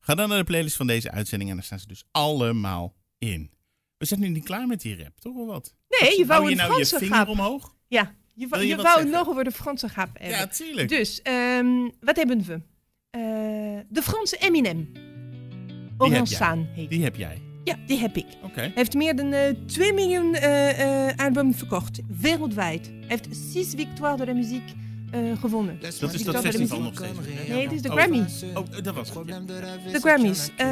Speaker 2: Ga dan naar de playlist van deze uitzending en daar staan ze dus allemaal in. We zijn nu niet klaar met die rap, toch? Of wat?
Speaker 3: Nee, je
Speaker 2: Hou
Speaker 3: wou
Speaker 2: je
Speaker 3: een
Speaker 2: nou
Speaker 3: Franse
Speaker 2: je vinger
Speaker 3: grap.
Speaker 2: omhoog?
Speaker 3: Ja, je, wou-
Speaker 2: Wil je
Speaker 3: je
Speaker 2: wat
Speaker 3: wou
Speaker 2: zeggen?
Speaker 3: nog over de Franse grap
Speaker 2: Ja,
Speaker 3: hebben.
Speaker 2: tuurlijk.
Speaker 3: dus, ehm, wat hebben we? Eh, de Franse Eminem. Orange
Speaker 2: jij.
Speaker 3: Saan heet
Speaker 2: Die heb jij.
Speaker 3: hij. Ja, die heb ik.
Speaker 2: Oké.
Speaker 3: Hij heeft meer dan eh, 2 miljoen eh, eh, albums verkocht, wereldwijd. Hij heeft 6 victoires de la musique eh, gewonnen.
Speaker 2: Dat is dat
Speaker 3: dat
Speaker 2: festival
Speaker 3: is-
Speaker 2: nog steeds.
Speaker 3: Nee, het is de
Speaker 4: Ah,
Speaker 2: Oh.
Speaker 3: Grammy.
Speaker 2: Oh, dat was het. ja.
Speaker 3: De Grammys. Eh,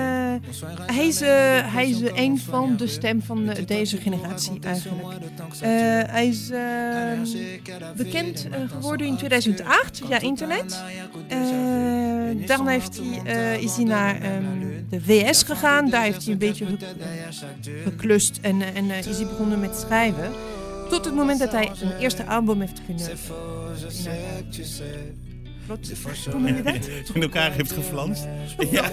Speaker 3: hij is, eh, hij is eh, een van de stem van eh, deze generatie eigenlijk. Eh, hij is eh, bekend eh, geworden in 2008 via internet. Eh, daarna heeft hij, eh, is hij naar ehm, de VS gegaan. Daar heeft hij een beetje ge- eh, geklust en, eh, en eh, is hij begonnen met schrijven. Tot het moment dat hij een eerste album heeft eh, kunnen... Wat? Hoe noem je dat?
Speaker 2: in elkaar heeft geflanst. Ja.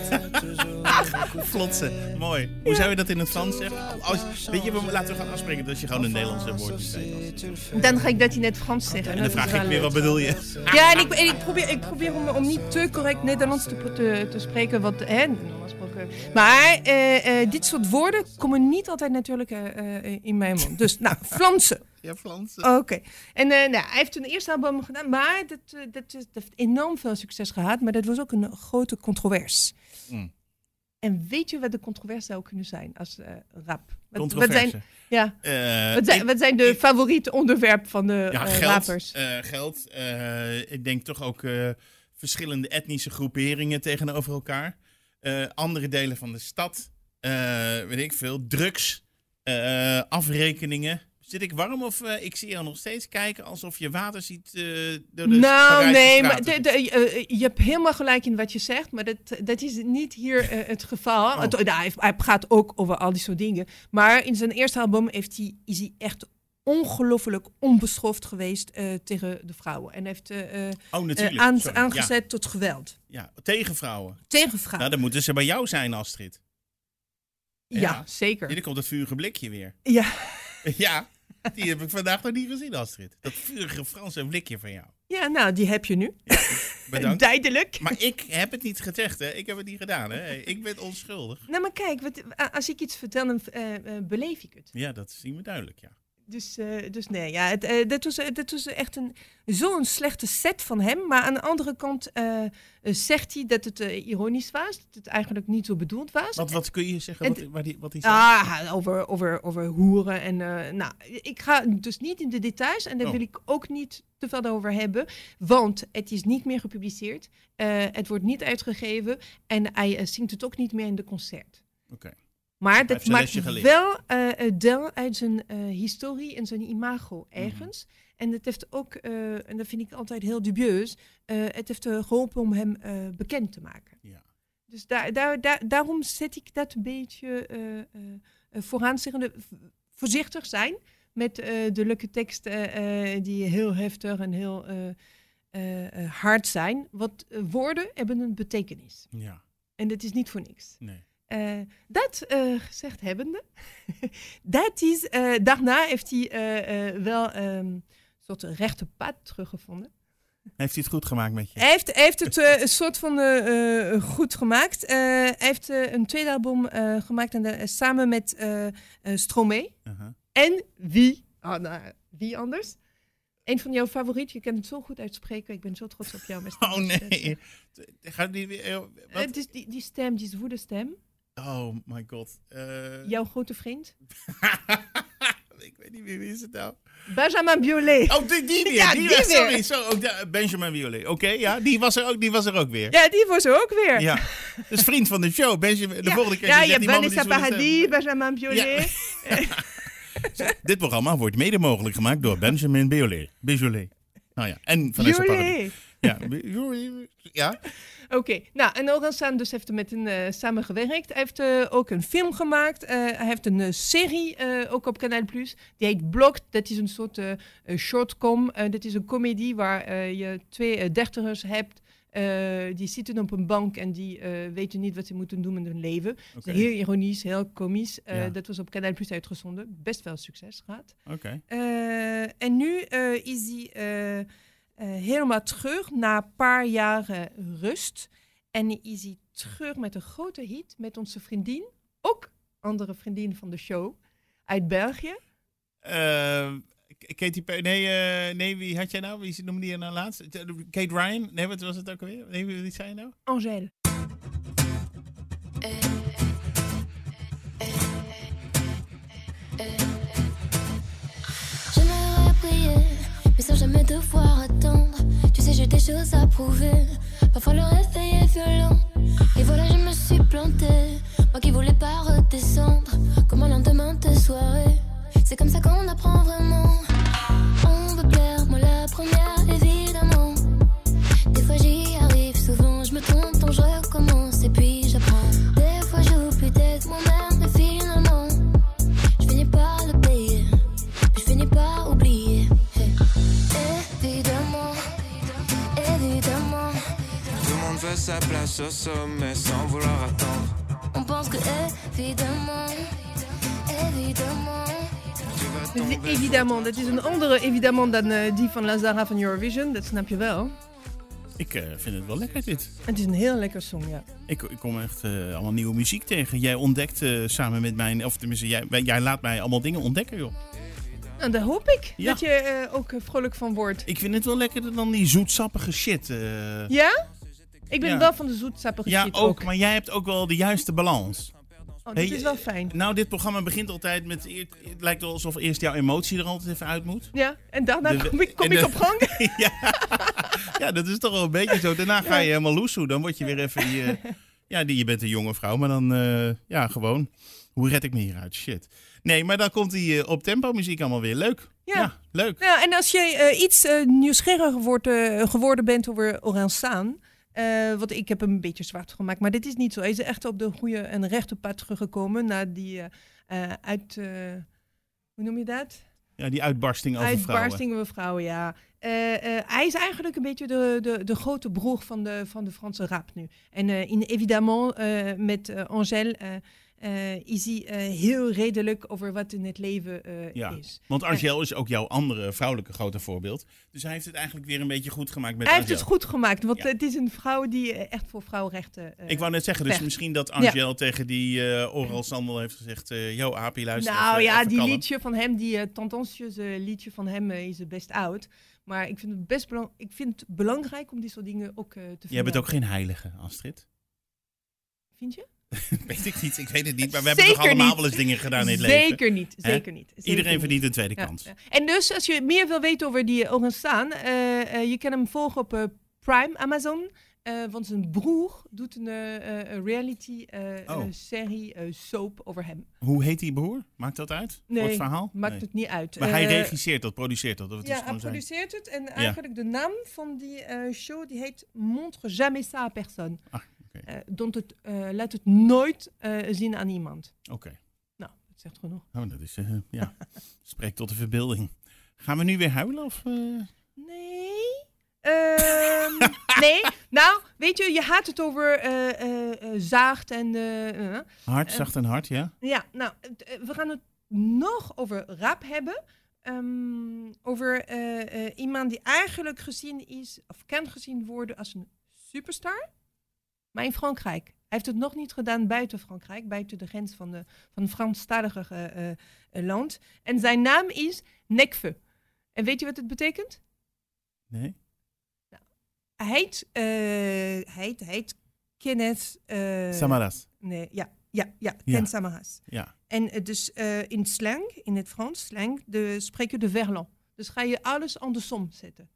Speaker 2: Flotsen, mooi. Hoe zou je dat in het Frans zeggen? Als, weet je, we, laten we gaan afspreken dat je gewoon een Nederlandse woordje zegt.
Speaker 3: Dan ga ik dat in het Frans zeggen.
Speaker 2: En dan
Speaker 3: Dat is
Speaker 2: vraag
Speaker 3: wel
Speaker 2: ik
Speaker 3: leuk.
Speaker 2: weer, wat bedoel je?
Speaker 3: Ja, en ik, en ik probeer, ik probeer om, om niet te correct Nederlands te, te, te spreken. Want, hè, normaal gesproken. Maar eh, eh, dit soort woorden komen niet altijd natuurlijk eh, eh, in mijn mond. Dus, nou, Flansen.
Speaker 2: Ja, Flansen.
Speaker 3: Oké. En eh, nou, hij heeft een eerste album gedaan, maar dat, eh, dat, is- dat heeft enorm veel succes gehad. Maar dat was ook een grote controvers.
Speaker 2: Mm.
Speaker 3: En weet je wat de controverse zou kunnen zijn als eh, rap? Wat, wat
Speaker 2: Controverse.
Speaker 3: zijn, ja,
Speaker 2: Eh,
Speaker 3: wat zijn,
Speaker 2: ik-
Speaker 3: wat zijn de
Speaker 2: ik-
Speaker 3: favoriete onderwerpen van de
Speaker 2: ja,
Speaker 3: eh,
Speaker 2: geld.
Speaker 3: rappers?
Speaker 2: eh, geld. eh, ik denk toch ook eh, verschillende etnische groeperingen tegenover elkaar. Eh, andere delen van de stad. Eh, weet ik veel. Drugs. eh, afrekeningen. Zit ik warm of eh, ik zie jou nog steeds kijken alsof je water ziet eh, door de
Speaker 3: nou,
Speaker 2: Parijse
Speaker 3: nee, maar
Speaker 2: straten?
Speaker 3: de- de- eh, eh, je hebt helemaal gelijk in wat je zegt, maar dat, dat is niet hier eh, het geval.
Speaker 2: Oh.
Speaker 3: Het, nou, hij, hij praat ook over al die soort dingen. Maar in zijn eerste album heeft hij, is hij echt ongelooflijk onbeschoft geweest eh, tegen de vrouwen. En heeft eh, eh,
Speaker 2: Oh, natuurlijk.
Speaker 3: aan-
Speaker 2: Sorry.
Speaker 3: aangezet Ah. tot geweld.
Speaker 2: Ja, ja, tegen vrouwen.
Speaker 3: Tegen vrouwen.
Speaker 2: Nou, dan moeten ze bij jou zijn, Astrid.
Speaker 3: ja,
Speaker 2: ja.
Speaker 3: zeker.
Speaker 2: Hier komt dat vurige blikje weer.
Speaker 3: Ja.
Speaker 2: Ja, die heb ik vandaag nog niet gezien, Astrid. Dat vurige Franse blikje van jou.
Speaker 3: ja, nou, die heb je nu.
Speaker 2: Bedankt.
Speaker 3: Duidelijk.
Speaker 2: Maar ik heb het niet gezegd, hè. Ik heb het niet gedaan, hè. Ik ben onschuldig.
Speaker 3: Nou, maar kijk, wat, a- als ik iets vertel, dan eh, eh, beleef ik het.
Speaker 2: Ja, dat zien we duidelijk, ja.
Speaker 3: Dus, eh, dus nee, ja, het, eh, dat, was, eh, dat was echt een, zo'n slechte set van hem. Maar aan de andere kant eh, eh, zegt hij dat het eh, ironisch was. Dat het eigenlijk niet zo bedoeld was.
Speaker 2: Wat, wat kun je zeggen? Wat,
Speaker 3: Het-
Speaker 2: waar die, wat die zei?
Speaker 3: Ah, over, over, over hoeren en... eh, nou, ik ga dus niet in de details en daar
Speaker 2: Oh.
Speaker 3: wil ik ook niet te veel over hebben. Want het is niet meer gepubliceerd. eh, het wordt niet uitgegeven. En hij eh, zingt het ook niet meer in de concert.
Speaker 2: Oké.
Speaker 3: Maar
Speaker 2: heeft
Speaker 3: dat
Speaker 2: zijn lesje
Speaker 3: maakt
Speaker 2: geleerd.
Speaker 3: wel eh, eh, deel uit zijn eh, historie en zijn imago
Speaker 2: Mhm.
Speaker 3: ergens. En dat heeft ook, eh, en dat vind ik altijd heel dubieus, eh, het heeft eh, geholpen om hem eh, bekend te maken.
Speaker 2: Ja.
Speaker 3: Dus daar, daar, daar, daarom zet ik dat een beetje eh, eh, eh, vooraan, zeggende, v- voorzichtig zijn met eh, de leuke teksten eh, eh, die heel heftig en heel eh, eh, eh, hard zijn. Want eh, woorden hebben een betekenis.
Speaker 2: Ja,
Speaker 3: En dat is niet voor niks.
Speaker 2: nee.
Speaker 3: Eh, dat eh, gezegd hebbende, dat is, eh, daarna heeft hij eh, eh, wel ehm, een soort rechte pad teruggevonden.
Speaker 2: Heeft hij het goed gemaakt met je?
Speaker 3: Hij heeft, hij heeft het eh, een soort van eh, eh, goed gemaakt. Eh, hij heeft eh, een tweede album eh, gemaakt en, daar- samen met eh eh, Stromae.
Speaker 2: Uh-huh.
Speaker 3: En wie? Ah, nou, wie anders? Een van jouw favorieten. Je kan het zo goed uitspreken. Ik ben zo trots op jou. Mr.
Speaker 2: Oh
Speaker 3: President.
Speaker 2: nee. Gaat die weer. eh,
Speaker 3: Eh,
Speaker 2: wat?
Speaker 3: Het is die, die stem, die zwoede stem.
Speaker 2: Oh my god. Eh,
Speaker 3: Jouw grote vriend.
Speaker 2: ik weet niet meer wie is het nou.
Speaker 3: Benjamin Biolay.
Speaker 2: Oh, die, die weer.
Speaker 3: Ja,
Speaker 2: die
Speaker 3: die
Speaker 2: weer.
Speaker 3: weer.
Speaker 2: Sorry, zo, ook de- Benjamin Violet. Oké, ja, die was er ook, die was er ook weer.
Speaker 3: Ja, die was er ook weer.
Speaker 2: Ja. Dus vriend van de show. Benjamin, de
Speaker 3: Ja,
Speaker 2: volgende keer.
Speaker 3: ja,
Speaker 2: zegt
Speaker 3: je
Speaker 2: die
Speaker 3: hebt
Speaker 2: man met
Speaker 3: Vanessa
Speaker 2: die zwarte
Speaker 3: Paradis, Benjamin Biolay.
Speaker 2: stem. Dit programma wordt mede mogelijk gemaakt door Benjamin Biolay. Bijolet. Nou ja, en Vanessa Paradis.
Speaker 3: Biolay.
Speaker 2: Ja, Biolay. ja.
Speaker 3: Oké, nou en Oran Saan dus heeft er met hem eh samengewerkt. Hij heeft eh, ook een film gemaakt. Eh, hij heeft een eh, serie, eh, ook op Kanaal Plus, die heet Blocked. Dat is een soort eh, eh, shortcom. Eh, dat is een comedie waar eh, je twee eh, dertigers hebt. eh, die zitten op een bank en die eh, weten niet wat ze moeten doen met hun leven. Het
Speaker 2: Oké,
Speaker 3: is heel ironisch, heel komisch. Eh,
Speaker 2: Ja.
Speaker 3: Dat was op Kanaal Plus uitgezonden. Best wel succes gehad.
Speaker 2: oké.
Speaker 3: Eh, en nu eh, is hij eh, eh, helemaal terug na een paar jaren rust. En is hij terug met een grote hit met onze vriendin, ook andere vriendin van de show, uit België.
Speaker 2: Eh, K- Katy Perry, nee, eh, nee, wie had jij nou? Wie noemde je nou laatst? Eh, Kate Ryan? Nee, wat was het ook alweer? Nee, wie wie zei je nou?
Speaker 3: Angèle.
Speaker 5: J'aimerais prier, mais sans jamais devoir attendre. Tu sais, j'ai des choses à prouver. Parfois, le réveil est violent. Et voilà, je me suis plantée. Moi qui voulais pas redescendre. Comme un lendemain de soirée. C'est comme ça qu'on apprend vraiment. On veut plaire, moi la première, évidemment. Des fois j'y arrive, souvent je me trompe, donc je recommence et puis j'apprends. Des fois j'oublie d'être moi-même, mais finalement, je finis par le payer. Je finis par oublier. Hey. Évidemment, évidemment,
Speaker 7: Tout le monde veut sa place au sommet sans vouloir attendre.
Speaker 5: on pense que évidemment, évidemment,
Speaker 7: Tu vas
Speaker 3: Dus
Speaker 7: tomber.
Speaker 3: Evidemment, dat is een andere Evidemment dan eh, die van Lazara van Eurovision, dat snap je wel.
Speaker 2: Ik eh, vind het wel lekker dit.
Speaker 3: Het is een heel lekker song, ja.
Speaker 2: Ik, ik kom echt eh, allemaal nieuwe muziek tegen. Jij ontdekt eh, samen met mij, of tenminste, jij, wij- jij laat mij allemaal dingen ontdekken, joh.
Speaker 3: Nou, daar hoop ik
Speaker 2: Ja.
Speaker 3: dat je eh, ook eh, vrolijk van wordt.
Speaker 2: Ik vind het wel lekkerder dan die zoetsappige shit. eh.
Speaker 3: Ja? Ik ben
Speaker 2: Ja.
Speaker 3: wel van de zoetsappige
Speaker 2: Ja,
Speaker 3: shit
Speaker 2: ook, maar jij hebt ook wel de juiste balans.
Speaker 3: Oh, dat
Speaker 2: Nee,
Speaker 3: is wel fijn.
Speaker 2: Nou, dit programma begint altijd met. eer- Het lijkt wel alsof eerst jouw emotie er altijd even uit moet.
Speaker 3: Ja, en daarna
Speaker 2: De-
Speaker 3: kom ik, kom
Speaker 2: en
Speaker 3: ik
Speaker 2: de-
Speaker 3: op gang.
Speaker 2: ja. ja, dat is toch wel een beetje zo. Daarna ga je helemaal loesoe. Dan word je weer even die... eh, ja, die, je bent een jonge vrouw, maar dan... eh, ja, gewoon. Hoe red ik me hieruit? Shit. Nee, maar dan komt die eh, op tempo muziek allemaal weer. Leuk. Ja,
Speaker 3: Ja.
Speaker 2: leuk.
Speaker 3: Nou, en als je eh, iets eh, nieuwsgieriger wordt, eh, geworden bent over Oransaan. eh want ik heb hem een beetje zwart gemaakt, maar dit is niet zo. Hij is echt op de goede en rechte pad teruggekomen na die eh, eh, uit. eh, hoe noem je dat?
Speaker 2: Ja, die uitbarsting over vrouwen.
Speaker 3: Uitbarsting van vrouwen, ja. Eh, eh, hij is eigenlijk een beetje de, de, de grote broer van de, van de Franse rap nu. En eh, in Evidemment eh, met eh, Angèle eh, eh, is hij eh, heel redelijk over wat in het leven eh,
Speaker 2: Ja,
Speaker 3: is.
Speaker 2: want Angel is ook jouw andere vrouwelijke grote voorbeeld. Dus hij heeft het eigenlijk weer een beetje goed gemaakt met
Speaker 3: Hij heeft het
Speaker 2: Angel.
Speaker 3: goed gemaakt, want
Speaker 2: Ja.
Speaker 3: het is een vrouw die eh, echt voor vrouwenrechten... eh,
Speaker 2: Ik wou net zeggen, dus
Speaker 3: Weg.
Speaker 2: misschien dat Angel tegen die eh oral sandel heeft gezegd... eh yo, Api, luister
Speaker 3: nou
Speaker 2: even-
Speaker 3: ja,
Speaker 2: even
Speaker 3: die
Speaker 2: kalm.
Speaker 3: liedje van hem, die eh tendentieuze liedje van hem eh, is eh, best oud. Maar ik vind het best belang ik vind het belangrijk om dit soort dingen ook eh, te
Speaker 2: Jij bent
Speaker 3: vermelden.
Speaker 2: ook geen heilige, Astrid.
Speaker 3: Vind je?
Speaker 2: weet ik niet, ik weet het niet. Maar we
Speaker 3: Zeker
Speaker 2: hebben toch allemaal
Speaker 3: niet.
Speaker 2: wel eens dingen gedaan in het leven.
Speaker 3: zeker niet,
Speaker 2: Hè?
Speaker 3: zeker niet. zeker
Speaker 2: Iedereen
Speaker 3: niet.
Speaker 2: verdient een tweede
Speaker 3: Ja,
Speaker 2: kans.
Speaker 3: ja. En dus, als je meer wil weten over die Orenstaan, eh, eh, je kan hem volgen op eh, Prime, Amazon. eh, want zijn broer doet een eh,
Speaker 2: Oh.
Speaker 3: reality-serie eh, soap over hem.
Speaker 2: Hoe heet die broer? Maakt dat uit?
Speaker 3: Nee,
Speaker 2: Voor het verhaal?
Speaker 3: Maakt
Speaker 2: Nee.
Speaker 3: het niet uit.
Speaker 2: Maar hij
Speaker 3: Eh,
Speaker 2: regisseert dat, produceert dat. Of het is
Speaker 3: Ja, hij
Speaker 2: gewoon zijn-
Speaker 3: produceert het. En eigenlijk de naam van die eh, show die heet Montre jamais ça à personne.
Speaker 2: Ah, oké.
Speaker 3: Eh, don't het, eh, laat het nooit eh, zien aan iemand.
Speaker 2: Oké.
Speaker 3: Nou, dat zegt genoeg.
Speaker 2: Oh, dat is, eh, ja, spreekt tot de verbeelding. Gaan we nu weer huilen of... eh?
Speaker 3: Nee. Ehm, nee. Nou, weet je, je had het over eh, eh, eh, zaagt en... eh, eh.
Speaker 2: Hard, zacht en hard, ja.
Speaker 3: ja, nou, het, eh, we gaan het nog over rap hebben. Ehm, over eh, eh, iemand die eigenlijk gezien is, of kan gezien worden als een superstar. Maar in Frankrijk. Hij heeft het nog niet gedaan buiten Frankrijk, buiten de grens van, de, van het Franstalige eh, eh, eh, land. En zijn naam is Nekve. En weet je wat het betekent?
Speaker 2: Nee?
Speaker 3: Hij heet, eh, hij heet, hij heet Kenneth... eh,
Speaker 2: Samaras.
Speaker 3: Nee, ja, ja, ja,
Speaker 2: Ja.
Speaker 3: Ken Samaras.
Speaker 2: Ja.
Speaker 3: En eh, dus eh, in slang, in het Frans, slang, de, spreek je de verlan. Dus ga je alles andersom zetten.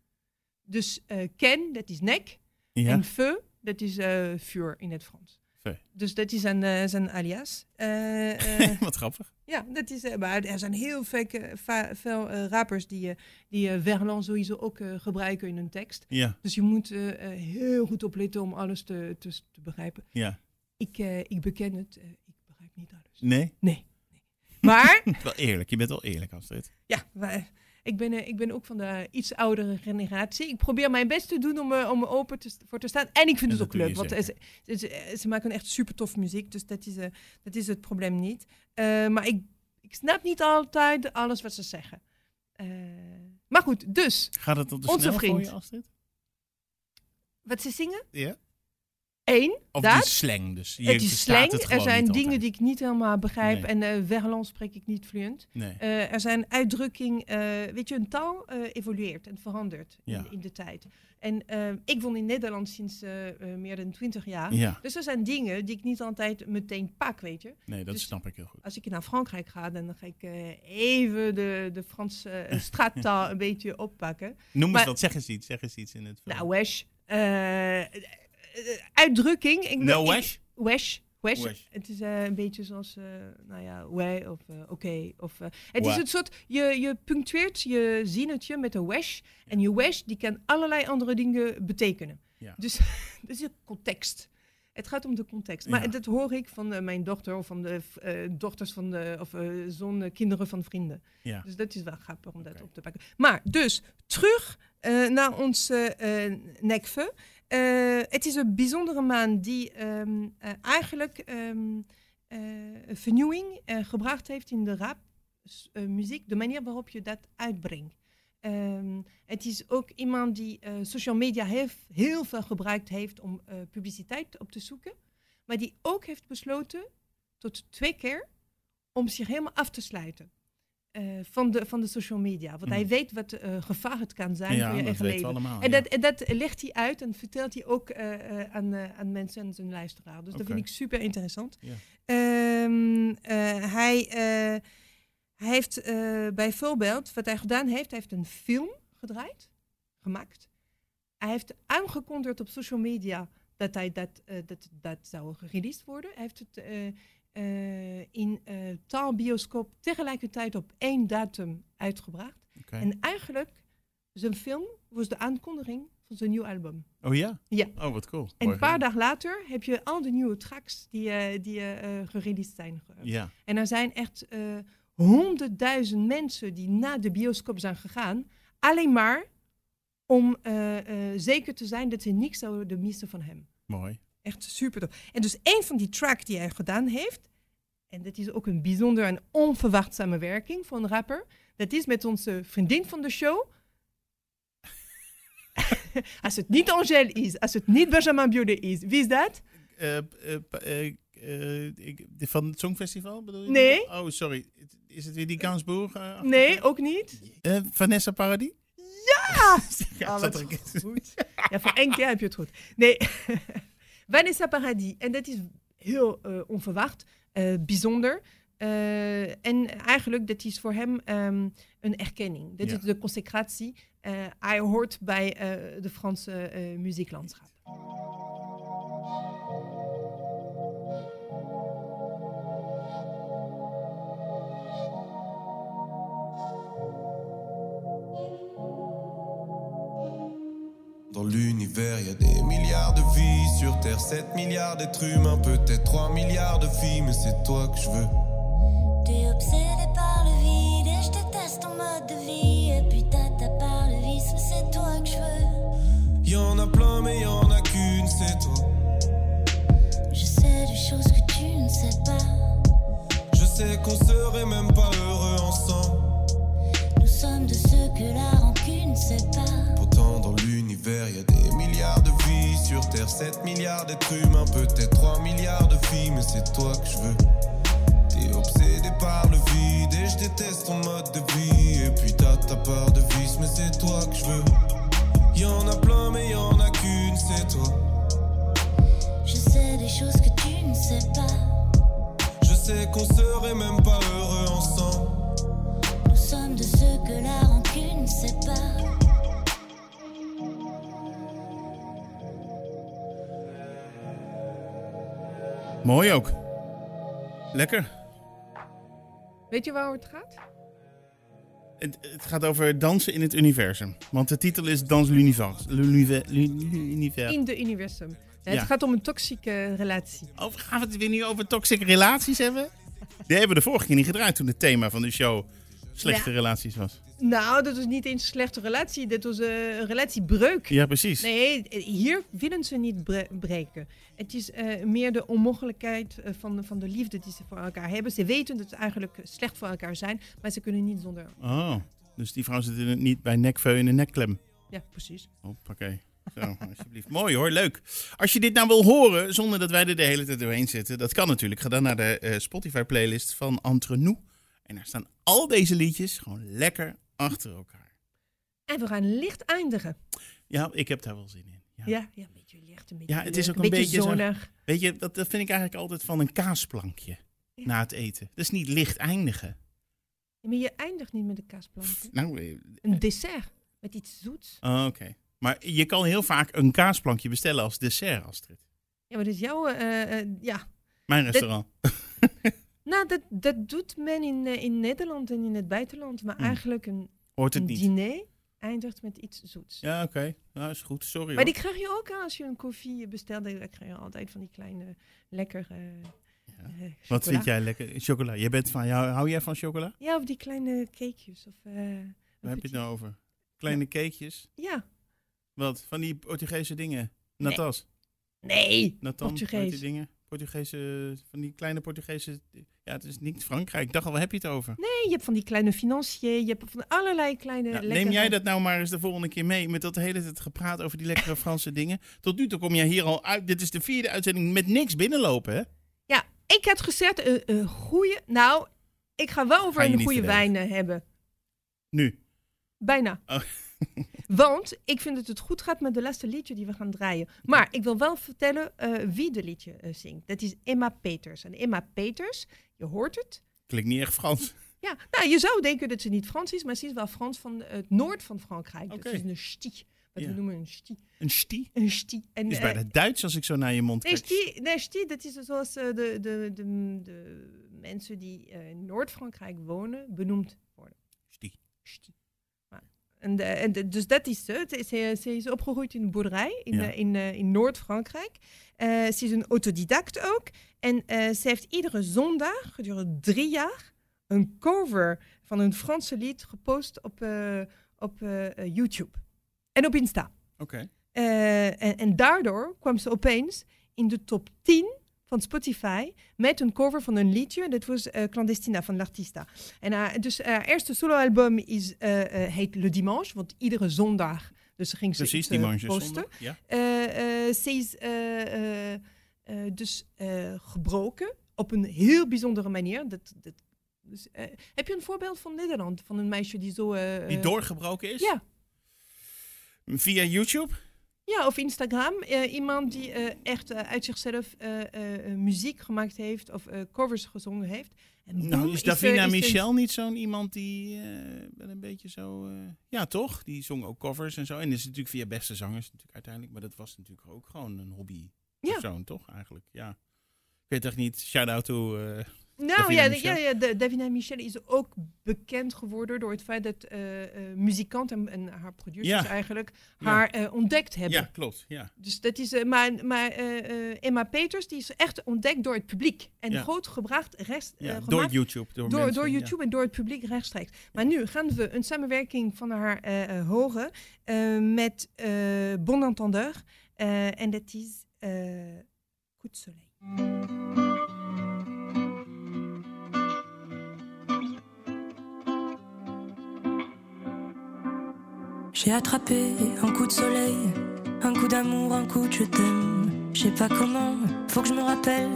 Speaker 3: Dus eh, ken, dat is nek.
Speaker 2: Ja.
Speaker 3: En feu, dat is eh, vuur in het Frans.
Speaker 2: Feu.
Speaker 3: Dus dat is een, eh, zijn alias. Eh, eh,
Speaker 2: Wat grappig.
Speaker 3: ja, dat is, eh, maar er zijn heel vaak, eh, va- veel eh, rappers die, eh, die eh, verlan sowieso ook eh, gebruiken in hun tekst.
Speaker 2: Ja,
Speaker 3: Dus je moet eh, eh, heel goed opletten om alles te, te, te begrijpen.
Speaker 2: ja.
Speaker 3: Ik, eh, ik beken het, eh, ik begrijp niet alles.
Speaker 2: Nee?
Speaker 3: Nee. nee. Maar
Speaker 2: Wel eerlijk, je bent wel eerlijk, Astrid.
Speaker 3: ja, wij- ik, ben, eh, ik ben ook van de iets oudere generatie. Ik probeer mijn best te doen om, eh, om er open te, st- voor te staan. En ik vind
Speaker 2: En
Speaker 3: het
Speaker 2: dat
Speaker 3: ook
Speaker 2: doe je
Speaker 3: leuk, want eh, ze, ze- eh, ze maken echt super tof muziek. Dus dat is, eh, dat is het probleem niet. Eh, maar ik, ik snap niet altijd alles wat ze zeggen. Eh, maar goed, dus
Speaker 2: Gaat het op de
Speaker 3: Onze
Speaker 2: snel voor
Speaker 3: vriend.
Speaker 2: je, Astrid?
Speaker 3: wat ze zingen?
Speaker 2: Ja.
Speaker 3: Eén,
Speaker 2: Of
Speaker 3: dat.
Speaker 2: die slang dus. Je
Speaker 3: Het is
Speaker 2: verstaat
Speaker 3: slang.
Speaker 2: het
Speaker 3: Er
Speaker 2: gewoon
Speaker 3: zijn
Speaker 2: niet
Speaker 3: dingen
Speaker 2: altijd.
Speaker 3: die ik niet helemaal begrijp.
Speaker 2: Nee.
Speaker 3: En eh Verlan spreek ik niet vloeiend.
Speaker 2: Nee.
Speaker 3: Eh, er zijn uitdrukkingen, eh, weet je, een taal eh, evolueert en verandert
Speaker 2: Ja.
Speaker 3: in, in de tijd. En eh, ik woon in Nederland sinds eh, eh, meer dan twintig jaar.
Speaker 2: Ja,
Speaker 3: Dus er zijn dingen die ik niet altijd meteen pak, weet je.
Speaker 2: nee, dat
Speaker 3: dus-
Speaker 2: snap ik heel goed.
Speaker 3: Als ik naar Frankrijk ga, dan ga ik eh, even de, de Franse eh, straattaal een beetje oppakken.
Speaker 2: Noem eens
Speaker 3: maar-
Speaker 2: wat, zeg eens iets, zeg eens iets in het
Speaker 3: Nou, wesh. eh, eh, uitdrukking. Ik,
Speaker 2: No
Speaker 3: ik-
Speaker 2: Nou, wesh?
Speaker 3: Wesh. Wesh.
Speaker 2: Wesh.
Speaker 3: Het is eh, een beetje zoals, eh, nou ja, wij of eh, oké. of, eh, het
Speaker 2: Wa.
Speaker 3: is het soort, je, je punctueert je zinnetje met een wesh. En je wesh, die kan allerlei andere dingen betekenen.
Speaker 2: Ja.
Speaker 3: Dus het is een context. Het gaat om de context. Maar
Speaker 2: Ja.
Speaker 3: dat hoor ik van eh, mijn dochter of van de eh, dochters van de, of eh, zoon, eh, kinderen van vrienden.
Speaker 2: Ja.
Speaker 3: Dus dat is wel grappig om dat
Speaker 2: Oké.
Speaker 3: op te pakken. Maar dus, terug eh, naar ons eh eh, nekve. Eh, het is een bijzondere maan die ehm, eh, eigenlijk ehm, eh, vernieuwing eh, gebracht heeft in de rapmuziek, eh, de manier waarop je dat uitbrengt. Ehm, het is ook iemand die eh, social media hef- heel veel gebruikt heeft om eh, publiciteit op te zoeken, maar die ook heeft besloten tot twee keer om zich helemaal af te sluiten. eh, van, de, van de social media. Want
Speaker 2: Mm.
Speaker 3: hij weet wat eh, gevaar het kan zijn
Speaker 2: ja,
Speaker 3: voor je
Speaker 2: dat
Speaker 3: eigen
Speaker 2: weten we
Speaker 3: leven.
Speaker 2: allemaal.
Speaker 3: En
Speaker 2: ja.
Speaker 3: dat, en dat legt hij uit en vertelt hij ook eh, eh, aan, eh, aan mensen en zijn luisteraar. Dus
Speaker 2: Oké.
Speaker 3: dat vind ik super interessant.
Speaker 2: Ja.
Speaker 3: Ehm, eh, hij, eh, hij heeft eh, bijvoorbeeld, wat hij gedaan heeft, hij heeft een film gedraaid, gemaakt. Hij heeft aangekondigd op social media dat hij dat, eh, dat, dat zou gereleased worden. Hij heeft het eh, eh, in eh taalbioscoop tegelijkertijd op één datum uitgebracht.
Speaker 2: Oké.
Speaker 3: En eigenlijk, zijn film was de aankondiging van zijn nieuw album.
Speaker 2: Oh ja?
Speaker 3: Ja.
Speaker 2: Oh, wat cool.
Speaker 3: En
Speaker 2: Mooi
Speaker 3: een paar
Speaker 2: gedaan.
Speaker 3: dagen later heb je al de nieuwe tracks die, eh, die eh, eh, gereleased zijn. ge-
Speaker 2: Ja,
Speaker 3: En er zijn echt eh, honderdduizend mensen die naar de bioscoop zijn gegaan. Alleen maar om eh, eh, zeker te zijn dat ze niks zouden missen van hem.
Speaker 2: mooi.
Speaker 3: Echt super tof. En dus één van die track die hij gedaan heeft, en dat is ook een bijzonder en onverwacht samenwerking voor een rapper. Dat is met onze vriendin van de show. als het niet Angèle is, als het niet Benjamin Biolay is, wie is dat?
Speaker 2: Eh, eh, pa- eh, eh, ik- de- van het Songfestival bedoel je?
Speaker 3: Nee.
Speaker 2: Oh, sorry. Is het weer die Gainsbourg? eh,
Speaker 3: Nee, ook niet.
Speaker 2: eh, Vanessa Paradis?
Speaker 3: Ah!
Speaker 2: Ja,
Speaker 3: Ah,
Speaker 2: zat
Speaker 3: wat
Speaker 2: er een keer-
Speaker 3: goed. Ja, voor één keer heb je het goed. Nee, Vanessa Paradis. En dat is heel eh, onverwacht, eh, bijzonder. Eh, en eigenlijk, dat is voor hem ehm, een erkenning. Dat
Speaker 2: Ja.
Speaker 3: is de consecratie. Eh, hij hoort bij eh, de Franse eh, muzieklandschap.
Speaker 9: Dans l'univers, il y a des milliards de vies sur Terre, 7 milliards d'êtres humains, peut-être 3 milliards de filles, mais c'est toi que je veux.
Speaker 5: T'es obsédé par le vide et je déteste ton mode de vie. Et putain, t'as par le vice, c'est toi que je veux.
Speaker 9: Y'en a plein, mais y'en a qu'une, c'est toi.
Speaker 5: Je sais des choses que tu ne sais pas.
Speaker 9: Je sais qu'on serait même pas heureux ensemble.
Speaker 5: Nous sommes de ceux que la rancune sépare.
Speaker 9: Pourtant, dans l'univers, il y a des milliards de vies sur Terre, 7 milliards d'êtres humains, peut-être 3 milliards de filles, mais c'est toi que je veux. T'es obsédé par le vide et je déteste ton mode de vie. Et puis t'as ta part de vice, mais c'est toi que je veux. Y'en a plein, mais y'en a qu'une, c'est toi.
Speaker 5: Je sais des choses que tu ne sais pas.
Speaker 9: Je sais qu'on serait même pas heureux ensemble.
Speaker 5: Nous sommes de ceux que la rancune sépare.
Speaker 2: Mooi ook. Lekker.
Speaker 3: Weet je waarom het gaat?
Speaker 2: Het, het gaat over dansen in het universum. Want de titel is Dans l'univers. L'univer- l'u- L'univers.
Speaker 3: In de universum. Ja,
Speaker 2: Ja.
Speaker 3: Het gaat om een toxische relatie.
Speaker 2: Of gaan we het weer nu over toxic relaties hebben? Die hebben we de vorige keer niet gedraaid toen het thema van de show slechte
Speaker 3: Ja.
Speaker 2: relaties was.
Speaker 3: Nou, dat is niet eens een slechte relatie. Dat was eh, een relatiebreuk.
Speaker 2: Ja, precies.
Speaker 3: Nee, hier willen ze niet bre- breken. Het is eh, meer de onmogelijkheid eh, van, van de liefde die ze voor elkaar hebben. Ze weten dat ze eigenlijk slecht voor elkaar zijn, maar ze kunnen niet zonder.
Speaker 2: Oh, dus die vrouw zit in het niet bij nekveu in een nekklem.
Speaker 3: Ja, precies.
Speaker 2: Hoppakee. Zo, alsjeblieft. Mooi hoor, leuk. Als je dit nou wil horen, zonder dat wij er de hele tijd doorheen zitten, dat kan natuurlijk. Ga dan naar de eh, Spotify-playlist van Entre Nous. En daar staan al deze liedjes gewoon lekker achter elkaar.
Speaker 3: En we gaan licht eindigen.
Speaker 2: Ja, ik heb daar wel zin in. Ja.
Speaker 3: Ja, ja een beetje licht, een beetje
Speaker 2: Ja, het is ook
Speaker 3: leuk,
Speaker 2: een beetje zo-
Speaker 3: zonnig.
Speaker 2: Weet je, dat, dat vind ik eigenlijk altijd van een kaasplankje
Speaker 3: Ja.
Speaker 2: na het eten. Dat is niet licht eindigen.
Speaker 3: Maar je eindigt niet met een kaasplank.
Speaker 2: Nou, eh,
Speaker 3: Een dessert met iets zoets.
Speaker 2: oh, oké. Maar je kan heel vaak een kaasplankje bestellen als dessert, Astrid.
Speaker 3: Ja, maar dat is jouw... eh, eh, ja.
Speaker 2: Mijn restaurant.
Speaker 3: Nou, dat, dat doet men in, eh, in Nederland en in het buitenland. Maar
Speaker 2: Hm.
Speaker 3: eigenlijk een,
Speaker 2: Hoort het
Speaker 3: een
Speaker 2: niet.
Speaker 3: diner eindigt met iets zoets.
Speaker 2: Ja, oké. Nou, is goed. Sorry
Speaker 3: Maar
Speaker 2: hoor.
Speaker 3: die krijg je ook hè, als je een koffie bestelt. Dan krijg je altijd van die kleine, lekkere. eh, eh,
Speaker 2: Wat
Speaker 3: chocola.
Speaker 2: vind jij lekker? Chocola. Je bent van, jou, hou jij van chocola?
Speaker 3: Ja, of die kleine cakejes. Of, eh, een
Speaker 2: Waar heb je
Speaker 3: petit-
Speaker 2: het nou over? Kleine cakejes?
Speaker 3: Ja.
Speaker 2: Wat? Van die Portugese dingen? Natas?
Speaker 3: Nee.
Speaker 2: Natan?
Speaker 3: Portugees.
Speaker 2: Hoe heet die dingen? Portugese, van die kleine Portugese... Ja, het is niet Frankrijk. Ik dacht al, waar heb je het over?
Speaker 3: Nee, je hebt van die kleine financiën. Je hebt van allerlei kleine.
Speaker 2: Nou,
Speaker 3: lekkere-
Speaker 2: neem jij dat nou maar eens de volgende keer mee met dat hele tijd gepraat over die lekkere Franse dingen. Tot nu toe kom jij hier al uit. Dit is de vierde uitzending met niks binnenlopen, hè?
Speaker 3: Ja, ik had gezegd een een goede. eh, Nou, ik ga wel over
Speaker 2: je
Speaker 3: een
Speaker 2: niet
Speaker 3: goede
Speaker 2: verdedigen.
Speaker 3: wijn eh, hebben.
Speaker 2: Nu.
Speaker 3: Bijna.
Speaker 2: Oh.
Speaker 3: Want ik vind dat het goed gaat met de laatste liedje die we gaan draaien. Maar ik wil wel vertellen eh, wie de liedje eh, zingt. Dat is Emma Peters. En Emma Peters, je hoort het.
Speaker 2: Klinkt niet echt Frans.
Speaker 3: Ja, nou, je zou denken dat ze niet Frans is, maar ze is wel Frans van eh, het noord van Frankrijk. Dus
Speaker 2: Oké.
Speaker 3: ze is een ch'ti. Wat
Speaker 2: Ja.
Speaker 3: we noemen een ch'ti.
Speaker 2: Een stie.
Speaker 3: Een ch'ti. En,
Speaker 2: Het is
Speaker 3: eh,
Speaker 2: bijna Duits als ik zo naar je mond
Speaker 3: Nee,
Speaker 2: kijk.
Speaker 3: ch'ti, nee, ch'ti, dat is zoals eh, de, de, de, de mensen die eh, in Noord-Frankrijk wonen, benoemd worden.
Speaker 2: Stie.
Speaker 3: Stie. Maar- En, de- en de- dus dat is ze. Ze- Ze, ze is opgegroeid in een boerderij in,
Speaker 2: Ja.
Speaker 3: eh, in, eh, in Noord-Frankrijk. Eh, ze is een autodidact ook. En eh, ze heeft iedere zondag gedurende drie jaar een cover van een Franse lied gepost op, eh, op eh, eh, YouTube en op Insta.
Speaker 2: Oké.
Speaker 3: Eh, en, en daardoor kwam ze opeens in de top 10 van Spotify met een cover van een liedje. En Dat was eh, Clandestina van L'Artista. En haar- dus haar eerste soloalbum is, eh, eh, heet Le Dimanche, want iedere zondag. Dus ze ging ze
Speaker 2: Precies,
Speaker 3: iets, eh,
Speaker 2: die manche
Speaker 3: posten.
Speaker 2: zondag. Ja.
Speaker 3: Eh, eh, ze is eh, eh, eh, dus eh, gebroken op een heel bijzondere manier. Dat, dat, dus, eh, heb je een voorbeeld van Nederland? Van een meisje die zo... eh,
Speaker 2: Die
Speaker 3: eh,
Speaker 2: doorgebroken is?
Speaker 3: Ja.
Speaker 2: Via YouTube?
Speaker 3: Ja, of Instagram. Eh, iemand die eh, echt eh, uit zichzelf eh, eh, eh, muziek gemaakt heeft of eh, covers gezongen heeft. En boem,
Speaker 2: Nou, is
Speaker 3: er-
Speaker 2: Davina
Speaker 3: is er-
Speaker 2: Michel niet zo'n iemand die eh, wel een beetje zo... eh, ja, toch? Die zong ook covers en zo. En dat is natuurlijk via beste zangers natuurlijk uiteindelijk. Maar dat was natuurlijk ook gewoon een hobby.
Speaker 3: Ja.
Speaker 2: Persoon, toch? Eigenlijk, ja. Ik weet echt niet. Shout-out to... eh,
Speaker 3: Nou
Speaker 2: Davina
Speaker 3: ja, de-
Speaker 2: Michel.
Speaker 3: ja, ja, de- Davina Michel is ook bekend geworden door het feit dat eh eh, muzikanten en haar producers
Speaker 2: Ja.
Speaker 3: eigenlijk
Speaker 2: Ja.
Speaker 3: haar eh, ontdekt hebben.
Speaker 2: ja, klopt. Ja.
Speaker 3: Dus dat is, eh, maar maar eh, eh, Emma Peters die is echt ontdekt door het publiek. En
Speaker 2: Ja.
Speaker 3: grootgebracht, rechts,
Speaker 2: ja
Speaker 3: eh,
Speaker 2: door
Speaker 3: gemaakt
Speaker 2: YouTube. Door,
Speaker 3: door,
Speaker 2: mensen,
Speaker 3: door
Speaker 2: ja.
Speaker 3: YouTube en door het publiek rechtstreeks. Maar nu gaan we een samenwerking van haar eh, eh, horen eh, met eh Bon Entendeur. Eh, en dat is eh Coup de Soleil.
Speaker 6: J'ai attrapé un coup de soleil, un coup d'amour, un coup de je t'aime. Je sais pas comment, faut que je me rappelle.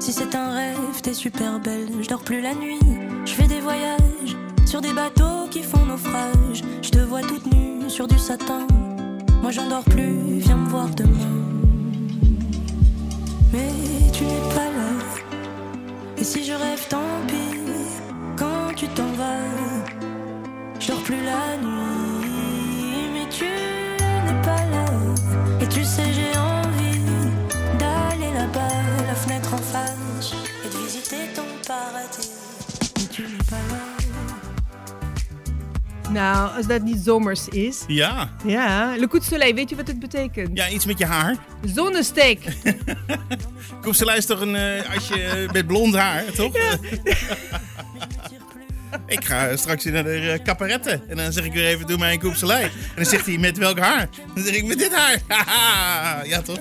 Speaker 6: Si c'est un rêve, t'es super belle. Je dors plus la nuit, je fais des voyages sur des bateaux qui font naufrage. Je te vois toute nue sur du satin. Moi j'en dors plus, viens me voir demain. Mais tu n'es pas là. Et si je rêve, tant pis. Quand tu t'en vas, je dors plus la nuit, mais tu n'es pas là. Et tu sais, j'ai envie d'aller là-bas, la fenêtre en face, et de visiter ton paradis. Mais tu n'es pas là.
Speaker 3: Nou, als dat niet zomers is.
Speaker 2: Ja.
Speaker 3: Ja, Le Coup de Soleil, weet je wat het betekent?
Speaker 2: Ja, iets met je haar.
Speaker 3: Zonnesteek.
Speaker 2: Koep, ze luistert een... eh, als je eh, met blond haar, toch? Ik ga straks naar de eh, kapperetten. En dan zeg ik weer even, doe mij een koepselij. En dan zegt hij, met welk haar? Dan zeg ik, met dit haar. Haha. ja, toch?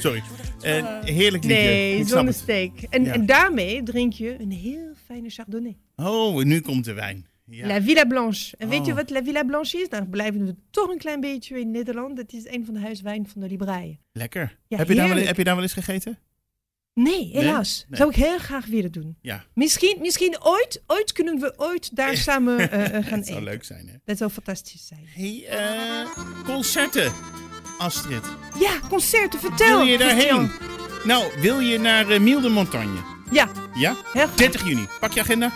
Speaker 2: Sorry. Eh, heerlijk liedje.
Speaker 3: Nee,
Speaker 2: Ik snap het.
Speaker 3: zonnesteek. En,
Speaker 2: Ja.
Speaker 3: en daarmee drink je een heel fijne chardonnay.
Speaker 2: Oh, nu komt de wijn. Ja.
Speaker 3: La Villa Blanche. En weet je
Speaker 2: Oh.
Speaker 3: wat La Villa Blanche is? Dan blijven we toch een klein beetje in Nederland. Dat is een van de huiswijnen van de Libraïe.
Speaker 2: Lekker.
Speaker 3: Ja,
Speaker 2: heb, je daar wel,
Speaker 3: heerlijk.
Speaker 2: heb je daar wel eens gegeten?
Speaker 3: Nee, helaas.
Speaker 2: Nee?
Speaker 3: Zou ik heel graag willen doen.
Speaker 2: Ja.
Speaker 3: Misschien, misschien ooit, ooit kunnen we ooit daar samen eh, eh, gaan
Speaker 2: Dat zou
Speaker 3: eten.
Speaker 2: leuk zijn, hè?
Speaker 3: Dat zou fantastisch zijn.
Speaker 2: Hey, eh, concerten, Astrid.
Speaker 3: Ja, concerten, vertel.
Speaker 2: Wil je
Speaker 3: Christian.
Speaker 2: daarheen? Nou, wil je naar eh, Miel de Montagne?
Speaker 3: Ja,
Speaker 2: Ja?
Speaker 3: heel graag.
Speaker 2: 30 juni. Pak je agenda.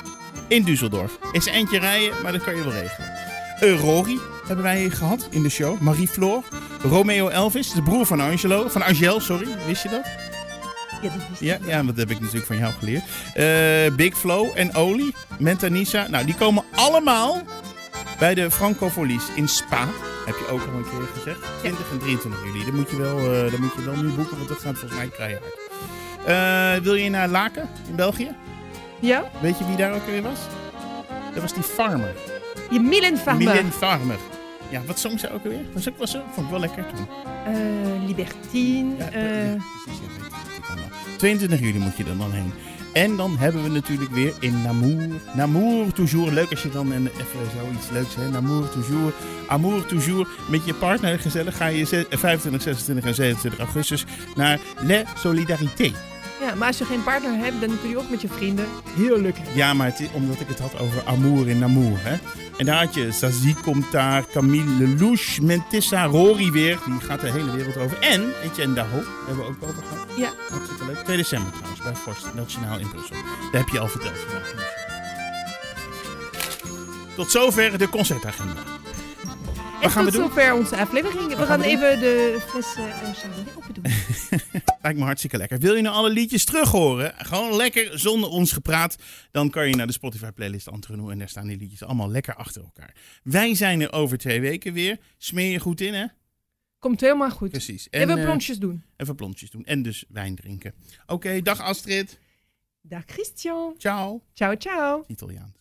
Speaker 2: In Düsseldorf. Is eindje rijden, maar dat kan je wel regelen. Eh, Rory hebben wij gehad in de show. Marie Floor. Romeo Elvis, de broer van Angelo. Van Angel, sorry. Wist je dat?
Speaker 3: Ja, dat is-
Speaker 2: Ja, ja dat heb ik natuurlijk van jou geleerd. Eh, Big Flo en Oli. Mentanisa. Nou, die komen allemaal bij de Francofolies in Spa. Heb je ook al een keer gezegd. 20 en 23 juli. Dat moet je wel, eh, dat moet je wel nu boeken, want dat gaat volgens mij keihard. Eh wil je naar Laken in België?
Speaker 3: ja?
Speaker 2: Weet je wie daar ook weer was? Dat was die farmer.
Speaker 3: Je Milen Farmer.
Speaker 2: Milen Farmer. Ja, wat zong ze ook weer? Was ook, was ze, vond ik wel lekker toen.
Speaker 3: Eh, Libertine.
Speaker 2: Ja,
Speaker 3: eh,
Speaker 2: ja, precies, ja, weet ik, ik kan wel. 22 juli moet je er dan heen. En dan hebben we natuurlijk weer in Namour. Namour toujours. Leuk als je dan en even zoiets leuks hè. Namour toujours. Amour toujours. Met je partner gezellig ga je ze- 25, 26 en 27 augustus naar Les Solidarité.
Speaker 3: ja, maar als je geen partner hebt, dan kun je ook met je vrienden. Heerlijk.
Speaker 2: Ja, maar het is omdat ik het had over Amour en Namour. Hè? En daar had je Sazie komt daar, Camille Lelouch, Mentissa Rory weer. Die gaat de hele wereld over. En Etienne Daho, daar hebben we ook over gehad.
Speaker 3: Ja.
Speaker 2: Hartstikke leuk. 2 december trouwens, bij Forst Nationaal in Brussel. Daar heb je al verteld vandaag. in de show. Tot zover de concertagenda.
Speaker 3: en
Speaker 2: Wat gaan we
Speaker 3: tot
Speaker 2: doen?
Speaker 3: zover onze aflevering. We gaan
Speaker 2: we doen?
Speaker 3: even de fles eh, eh, chardonnay open doen.
Speaker 2: Lijkt me hartstikke lekker. Wil je nou alle liedjes terug horen? Gewoon lekker zonder ons gepraat. Dan kan je naar de Spotify playlist Antronoe. En daar staan die liedjes allemaal lekker achter elkaar. Wij zijn er over twee weken weer. Smeer je goed in, hè?
Speaker 3: Komt helemaal goed.
Speaker 2: Precies. En,
Speaker 3: even
Speaker 2: eh,
Speaker 3: plonsjes doen.
Speaker 2: even plonsjes doen. En dus wijn drinken. Oké, dag Astrid.
Speaker 3: Dag Christian.
Speaker 2: Ciao.
Speaker 3: Ciao, ciao.
Speaker 2: Italiaans.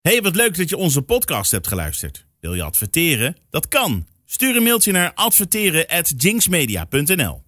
Speaker 1: Hey, wat leuk dat je onze podcast hebt geluisterd. Wil je adverteren? Dat kan. Stuur een mailtje naar adverteren@jinxmedia.nl.